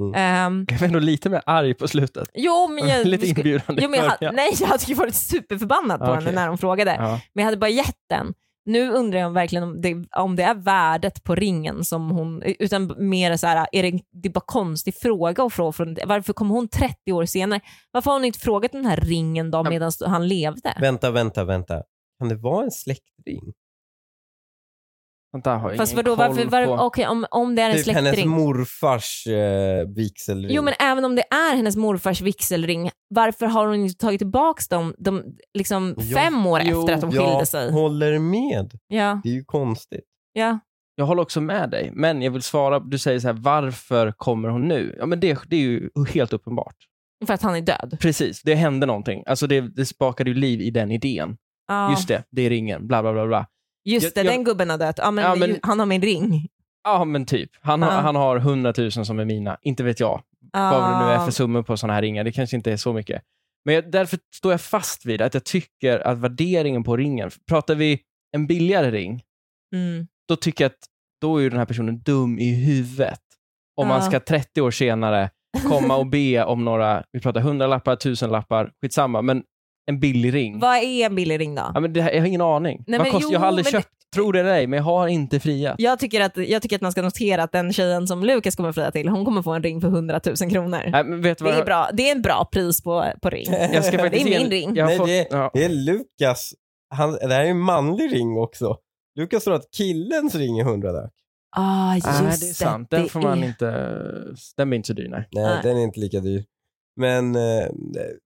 Speaker 2: Mm.
Speaker 1: Ehm,
Speaker 3: Jag var ändå lite mer arg på slutet.
Speaker 1: jo men jag,
Speaker 3: Lite
Speaker 1: vi skulle,
Speaker 3: inbjudande.
Speaker 1: jo, men jag,
Speaker 3: i
Speaker 1: hade-
Speaker 3: början.
Speaker 1: nej jag hade ju varit superförbannad på
Speaker 3: Ja,
Speaker 1: henne
Speaker 3: okej.
Speaker 1: när hon frågade.
Speaker 3: ja.
Speaker 1: Men jag hade bara gett den. Nu undrar jag verkligen om det, om det är värdet på ringen som hon, utan mer så här, är det, det är bara konstig fråga att fråga. Från, varför kom hon 30 år senare? Varför har hon inte frågat den här ringen då
Speaker 3: Ja.
Speaker 1: medan han levde?
Speaker 2: Vänta, vänta, vänta. Kan det vara en släktring?
Speaker 3: Sånt där har jag
Speaker 1: Fast
Speaker 3: ingen
Speaker 1: vadå,
Speaker 3: koll
Speaker 1: varför, var,
Speaker 3: på.
Speaker 1: okej, om, om det är en
Speaker 2: Typ hennes
Speaker 1: släktring.
Speaker 2: morfars eh, vigselring.
Speaker 1: Jo men även om det är hennes morfars vigselring, varför har hon inte tagit tillbaka dem de, liksom
Speaker 2: Jo.
Speaker 1: fem år
Speaker 3: Jo,
Speaker 1: efter att de skilde
Speaker 2: jag
Speaker 1: sig?
Speaker 2: håller med.
Speaker 1: Ja,
Speaker 2: Det är ju konstigt.
Speaker 1: ja.
Speaker 3: Jag håller också med dig, men jag vill svara. Du säger så här, varför kommer hon nu? Ja, men det, det är ju helt uppenbart.
Speaker 1: För att han är död.
Speaker 3: Precis, det hände någonting. Alltså det, det spakade ju liv i den idén.
Speaker 1: Ja.
Speaker 3: Just det, det är ringen, bla bla bla. bla.
Speaker 1: Just det,
Speaker 3: Jag- jag-
Speaker 1: den gubben har dött. Ja, men,
Speaker 3: Ja, men-
Speaker 1: ju- han har min ring.
Speaker 3: Ja, men typ. Han, har
Speaker 1: Ja.
Speaker 3: han har 100 000 som är mina. Inte vet jag. vad det nu är
Speaker 1: Ah.
Speaker 3: för summor på sådana här ringar. Det kanske inte är så mycket. Men jag, därför står jag fast vid att jag tycker att värderingen på ringen, pratar vi en billigare ring,
Speaker 1: Mm.
Speaker 3: då tycker jag att då är ju den här personen dum i huvudet. Om man
Speaker 1: Ja.
Speaker 3: ska 30 år senare komma och be om några, vi pratar 100 lappar, 1000 lappar, skitsamma, men en billig ring.
Speaker 1: Vad är en billig ring då?
Speaker 3: Ja, men det här, jag har ingen aning.
Speaker 1: Nej,
Speaker 3: Vad
Speaker 1: men
Speaker 3: kostar, jag har
Speaker 1: jo,
Speaker 3: aldrig
Speaker 1: men det-
Speaker 3: köpt, tror det eller ej, men jag har inte friat.
Speaker 1: Jag tycker, att, jag tycker att man ska notera att den tjejen som Lukas kommer fria till, hon kommer få en ring för 100 000 kronor.
Speaker 3: Nej, men vet du
Speaker 1: Det
Speaker 3: Äh, vad?
Speaker 1: är, bra, det är en bra pris på, på ring.
Speaker 3: Jag
Speaker 1: Det
Speaker 3: ska
Speaker 1: är
Speaker 3: faktiskt ge en-
Speaker 1: min ring.
Speaker 3: Jag har
Speaker 2: Nej,
Speaker 3: fått,
Speaker 2: det-
Speaker 3: ja.
Speaker 2: Det är Lukas. Han, det här är en manlig ring också. Lukas tror att killens ring är 100 där.
Speaker 1: Ah, just
Speaker 3: Nej, det är sant. Den
Speaker 1: det
Speaker 3: får man
Speaker 1: är-
Speaker 3: inte... Den blir inte så dyr, nej.
Speaker 2: Nej,
Speaker 1: Nej.
Speaker 2: den är inte lika dyr. Men eh,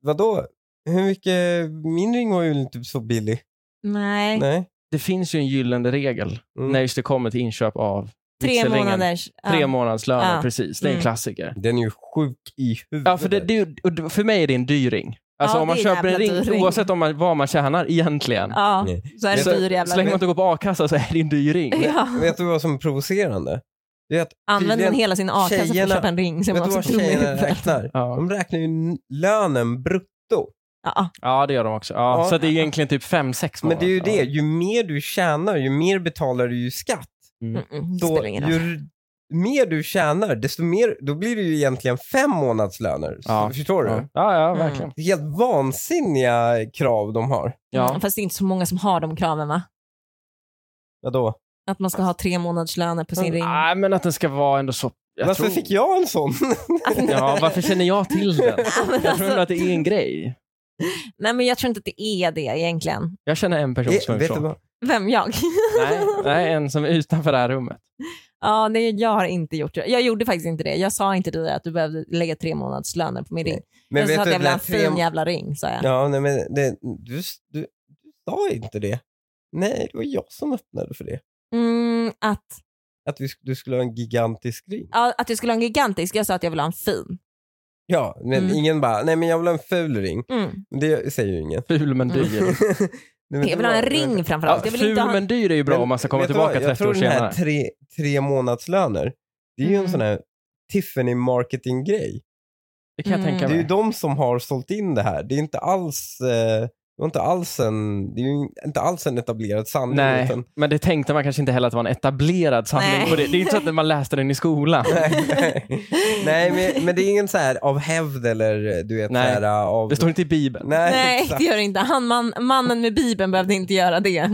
Speaker 2: vadå? Hur mycket? Min ring var ju inte så billig.
Speaker 1: Nej.
Speaker 2: Nej.
Speaker 3: Det finns ju en gyllene regel
Speaker 2: Mm.
Speaker 3: när just det kommer till inköp av
Speaker 1: Tre
Speaker 3: vigselringen.
Speaker 1: månaders... ja.
Speaker 3: Tre månadslöner,
Speaker 1: Ja.
Speaker 3: precis. Det är en
Speaker 1: Mm.
Speaker 3: klassiker.
Speaker 2: Den är ju sjuk i huvudet.
Speaker 3: Ja, för, det, det, är ju- och för mig är det en dyr ring. Alltså
Speaker 1: Ja,
Speaker 3: om man
Speaker 1: det är
Speaker 3: köper en
Speaker 1: jävla
Speaker 3: ring,
Speaker 1: dyr ring.
Speaker 3: oavsett om man, vad man tjänar egentligen,
Speaker 1: Ja,
Speaker 2: Nej.
Speaker 1: så är det
Speaker 3: så,
Speaker 1: dyr jävla
Speaker 3: så länge man inte går på a-kassa så är det en dyr ring.
Speaker 1: Ja.
Speaker 2: Vet du vad som är provocerande? Det är att
Speaker 1: Använder man
Speaker 2: tydligen-
Speaker 1: hela sin a-kassa för att
Speaker 2: tjejerna-
Speaker 1: köpa en ring så är
Speaker 2: Vet
Speaker 1: man
Speaker 2: du
Speaker 1: också
Speaker 2: vad
Speaker 1: dum i
Speaker 2: tjejerna
Speaker 1: huvudet.
Speaker 2: räknar?
Speaker 3: Ja.
Speaker 2: De räknar ju n- lönen brutto.
Speaker 1: Ja. ah,
Speaker 3: ja, det gör de också. Ja,
Speaker 2: Ja.
Speaker 3: Så det är egentligen typ fem sex
Speaker 2: Men det är ju det,
Speaker 3: månader.
Speaker 2: ju mer du tjänar, ju mer betalar du ju skatt.
Speaker 1: Mm, mm, det
Speaker 2: Då,
Speaker 1: spelar ingen roll.
Speaker 2: ju mer du tjänar, desto mer, då blir det ju egentligen fem månadslöner.
Speaker 3: Ja.
Speaker 2: Ja. Förstår du?
Speaker 3: Ja, ja, ja
Speaker 1: Mm.
Speaker 3: verkligen.
Speaker 2: Det är helt vansinniga krav de har.
Speaker 3: Ja.
Speaker 1: Mm, Fast det är inte så många som har de kraven va?
Speaker 2: Vadå?
Speaker 1: Att man ska ha tre månadslöner på sin
Speaker 2: Mm,
Speaker 1: ring.
Speaker 3: Nej, men att den ska vara ändå så... Jag
Speaker 2: Varför
Speaker 3: tror...
Speaker 2: fick jag en sån?
Speaker 3: Ja, varför känner jag till den?
Speaker 1: men
Speaker 3: Jag tror
Speaker 1: alltså-
Speaker 3: ändå att det är en grej.
Speaker 1: Nej men jag tror inte att det är det egentligen.
Speaker 3: Jag känner en person som är
Speaker 2: Eh, vet du
Speaker 3: ifrån.
Speaker 2: vad?
Speaker 1: Vem jag?
Speaker 3: Nej, nej, en som är utanför det här rummet.
Speaker 1: Ja, nej, jag har inte gjort det. Jag gjorde faktiskt inte det. Jag sa inte till dig att du behövde lägga tre månadslöner på min ring.
Speaker 2: Men
Speaker 1: jag sa att jag
Speaker 2: den
Speaker 1: ville ha
Speaker 2: här
Speaker 1: en
Speaker 2: tre-
Speaker 1: fin jävla ring, sa jag.
Speaker 2: Ja, nej, men det, du, du, du sa inte det. Nej, det var jag som öppnade för det.
Speaker 1: Mm, att,
Speaker 2: Att vi, sk- du skulle ha en gigantisk ring.
Speaker 1: ja, att jag skulle ha en gigantisk, jag sa att jag ville ha en fin.
Speaker 2: Ja, men
Speaker 1: Mm.
Speaker 2: ingen bara, nej men jag vill ha en ful ring.
Speaker 1: Mm.
Speaker 2: Men Det säger ju ingen.
Speaker 3: Ful men dyr.
Speaker 2: Nej, men
Speaker 1: Jag
Speaker 2: det
Speaker 1: vill ha en
Speaker 2: var-
Speaker 1: ring
Speaker 3: Ja,
Speaker 1: framförallt. Jag vill
Speaker 3: ful
Speaker 1: inte ha en...
Speaker 3: men dyr är ju bra
Speaker 2: Men
Speaker 3: om man ska komma
Speaker 2: vet du vad?
Speaker 3: tillbaka
Speaker 2: Jag
Speaker 3: 30
Speaker 2: tror
Speaker 3: år
Speaker 2: den
Speaker 3: senare.
Speaker 2: här tre, tre månadslöner, det är ju en
Speaker 1: Mm.
Speaker 2: sån här Tiffany marketing-grej.
Speaker 3: Det kan jag
Speaker 1: Mm.
Speaker 3: tänka
Speaker 2: Det är ju
Speaker 3: mig.
Speaker 2: de som har sålt in det här. Det är inte alls, eh, det var inte alls en, det är ju inte alls en etablerad sanning.
Speaker 3: Nej,
Speaker 2: Utan,
Speaker 3: men det tänkte man kanske inte heller att det var en etablerad sanning
Speaker 1: Nej.
Speaker 3: på det. Det är ju inte så att man läste den i skolan.
Speaker 2: nej, nej men, men det är ingen så här av hävd eller du vet
Speaker 3: Nej.
Speaker 2: så här av...
Speaker 3: Det står inte i Bibeln.
Speaker 2: Nej,
Speaker 1: Nej,
Speaker 2: exakt.
Speaker 1: det gör det inte. Han, man, mannen med bibeln behövde inte göra det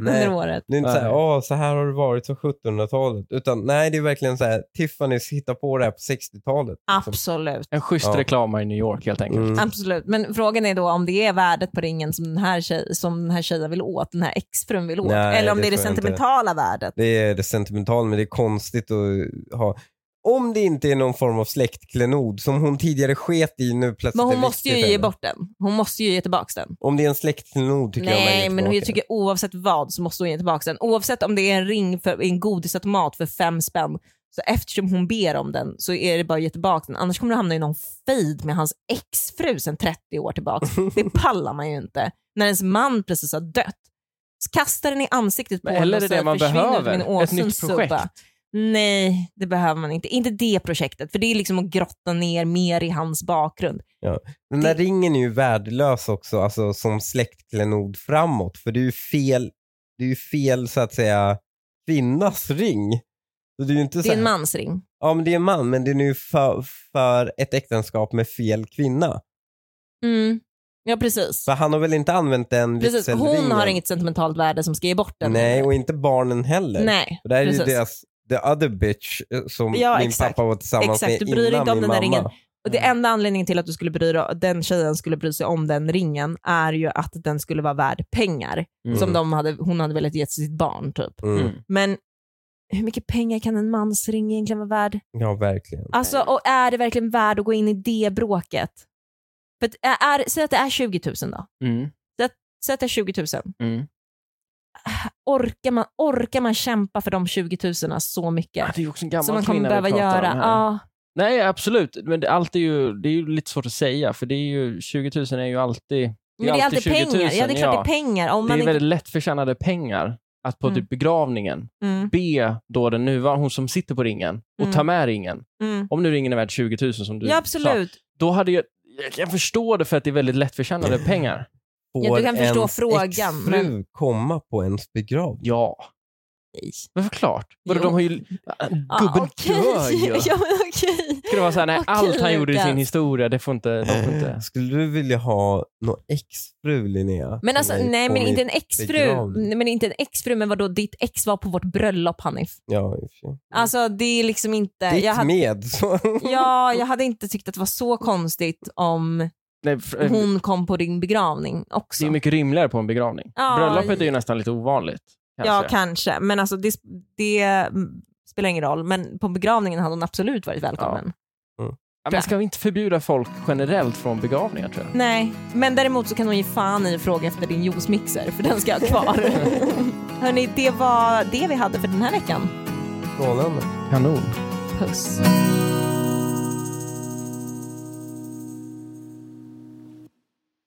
Speaker 2: Nej.
Speaker 1: under året.
Speaker 2: Det är inte
Speaker 3: Nej.
Speaker 2: så här, åh, så här har det varit som 1700-talet. Utan nej, det är verkligen så här, Tiffany's hittar på det här på 60-talet. liksom.
Speaker 1: Absolut.
Speaker 3: En schysst
Speaker 2: Ja.
Speaker 3: reklamare i New York helt enkelt.
Speaker 2: Mm.
Speaker 1: Absolut. Men frågan är då om det är värdet på ringen som den här, tjej, som den här tjejen vill åt, den här exfrun vill åt.
Speaker 2: Nej,
Speaker 1: Eller om
Speaker 2: det
Speaker 1: det är det
Speaker 2: tror jag inte.
Speaker 1: sentimentala värdet.
Speaker 2: Det är det sentimentala, men det är konstigt att ha. Om det inte är någon form av släktklenod som hon tidigare sket i nu plötsligt
Speaker 1: Men
Speaker 2: Alltså, är
Speaker 1: hon måste ju
Speaker 2: viktigt
Speaker 1: ge
Speaker 2: ändå.
Speaker 1: bort den. Hon måste ju ge tillbaka den.
Speaker 2: Om det är en släktklenod tycker jag man
Speaker 1: Nej,
Speaker 2: ger
Speaker 1: men jag
Speaker 2: tillbaka.
Speaker 1: tycker oavsett vad så måste hon ge tillbaka den. Oavsett om det är en ring för en godisautomat för fem spänn, så eftersom hon ber om den så är det bara att ge tillbaka den. Annars kommer du hamna i någon fejd med hans exfru sedan 30 år tillbaka. Det pallar man ju inte. När ens man precis har dött. Kasta den i ansiktet på
Speaker 3: Men eller är det
Speaker 1: och säg,
Speaker 3: det man
Speaker 1: "Försvinn ur
Speaker 3: behöver?
Speaker 1: min
Speaker 3: Ett
Speaker 1: åsyn,
Speaker 3: nytt projekt?"
Speaker 1: subba." Nej, det behöver man inte. Inte det projektet, för det är liksom att grotta ner mer i hans bakgrund.
Speaker 2: Den där
Speaker 1: det-
Speaker 2: ringen är ju värdelös också, alltså som släktklenod framåt. För det är ju fel, det är ju fel så att säga kvinnas ring. Så det är ju inte
Speaker 1: Det
Speaker 2: så
Speaker 1: är en
Speaker 2: här-
Speaker 1: mans ring.
Speaker 2: Ja, men det är en man, men det är nu för, för ett äktenskap med fel kvinna.
Speaker 1: Mm. Ja, precis.
Speaker 2: För han har väl inte använt den
Speaker 1: precis. Hon
Speaker 2: vigselringen?
Speaker 1: har inget sentimentalt värde som ska ge bort den.
Speaker 2: Nej, och inte barnen heller.
Speaker 1: Nej.
Speaker 2: Och det här är ju
Speaker 1: precis.
Speaker 2: deras the other bitch eh, som
Speaker 1: Ja,
Speaker 2: min
Speaker 1: exakt.
Speaker 2: pappa var tillsammans
Speaker 1: Exakt,
Speaker 2: med
Speaker 1: du bryr dig
Speaker 2: innan
Speaker 1: inte om
Speaker 2: min
Speaker 1: den där
Speaker 2: mamma.
Speaker 1: ringen. Och det enda anledningen till att du skulle bry dig, den tjejen skulle bry sig om den ringen är ju att den skulle vara värd pengar
Speaker 3: Mm.
Speaker 1: som de hade, hon hade velat ge till sitt barn. typ.
Speaker 2: Mm.
Speaker 3: Mm.
Speaker 1: Men hur mycket pengar kan en mans ring egentligen vara värd?
Speaker 2: Ja, verkligen.
Speaker 1: Alltså, och är det verkligen värd att gå in i det bråket? För att är, säg att det är 20 000 då.
Speaker 3: Mm.
Speaker 1: Säg att det är 20 000.
Speaker 3: Mm.
Speaker 1: Orkar man, orkar man kämpa för de 20 000 så
Speaker 3: Ja,
Speaker 1: mycket?
Speaker 3: det är ju också en gammal
Speaker 1: som man kommer
Speaker 3: kvinna vi
Speaker 1: behöva
Speaker 3: pratar om
Speaker 1: göra.
Speaker 3: här.
Speaker 1: Ja,
Speaker 3: Nej, absolut. Men det, allt är ju, det är ju lite svårt att säga, för det är ju, 20 000 är ju alltid...
Speaker 1: men det är alltid
Speaker 3: 20 000,
Speaker 1: pengar. Ja, det är klart det är pengar. Om
Speaker 3: Det är
Speaker 1: man
Speaker 3: väldigt
Speaker 1: inte...
Speaker 3: lättförtjänade pengar att på
Speaker 1: Mm.
Speaker 3: typ begravningen
Speaker 1: mm,
Speaker 3: be då den nuvarande, hon som sitter på ringen, och
Speaker 1: Mm.
Speaker 3: ta med ringen.
Speaker 1: mm.
Speaker 3: Om nu ringen är värd 20 000 som du
Speaker 1: Ja,
Speaker 3: sa,
Speaker 1: absolut.
Speaker 3: då hade jag, jag kan förstå det för att det är väldigt lättförtjänade pengar.
Speaker 1: Ja, du kan förstå
Speaker 2: ens
Speaker 1: frågan,
Speaker 2: exfru komma på ens begravning?
Speaker 3: Ja.
Speaker 1: Nej.
Speaker 3: Men förklart. Vadå,
Speaker 1: Jo. Ah,
Speaker 3: de har ju... ah, Gubben dör ju.
Speaker 1: ja, men okej.
Speaker 3: Ska det vara så här, nej,
Speaker 1: Okej,
Speaker 3: allt han gjorde i sin
Speaker 1: Lukas.
Speaker 3: historia, det får inte... De får
Speaker 1: Eh.
Speaker 3: inte.
Speaker 2: Eh, Skulle du vilja ha någon exfru Linnea?
Speaker 1: Men alltså,
Speaker 2: Som är
Speaker 1: nej
Speaker 2: på
Speaker 1: men
Speaker 2: mitt-
Speaker 1: inte en exfru.
Speaker 2: begravning.
Speaker 1: Nej, Men inte en exfru, men vadå ditt ex var på vårt bröllop Hanif.
Speaker 2: Ja, i och för sig.
Speaker 1: Alltså det är liksom inte...
Speaker 2: Ditt
Speaker 1: Jag hade,
Speaker 2: med. Så.
Speaker 1: ja, jag hade inte tyckt att det var så konstigt om
Speaker 3: Nej, för, eh,
Speaker 1: hon kom på din begravning
Speaker 3: det
Speaker 1: också.
Speaker 3: är mycket rimligare på en begravning.
Speaker 1: Ja,
Speaker 3: Bröllopet är ju nästan lite ovanligt.
Speaker 1: ja,
Speaker 3: kanske.
Speaker 1: kanske. Men alltså det, det mm, spelar ingen roll. Men på begravningen hade hon absolut varit välkommen.
Speaker 3: Ja, men ska vi inte förbjuda folk generellt från begravningar tror jag?
Speaker 1: Nej, men däremot så kan hon ge fan i och fråga efter din juicemixer för den ska jag ha kvar. Hörni, det var det vi hade för den här veckan.
Speaker 2: Strålande.
Speaker 3: Kanon.
Speaker 1: Puss.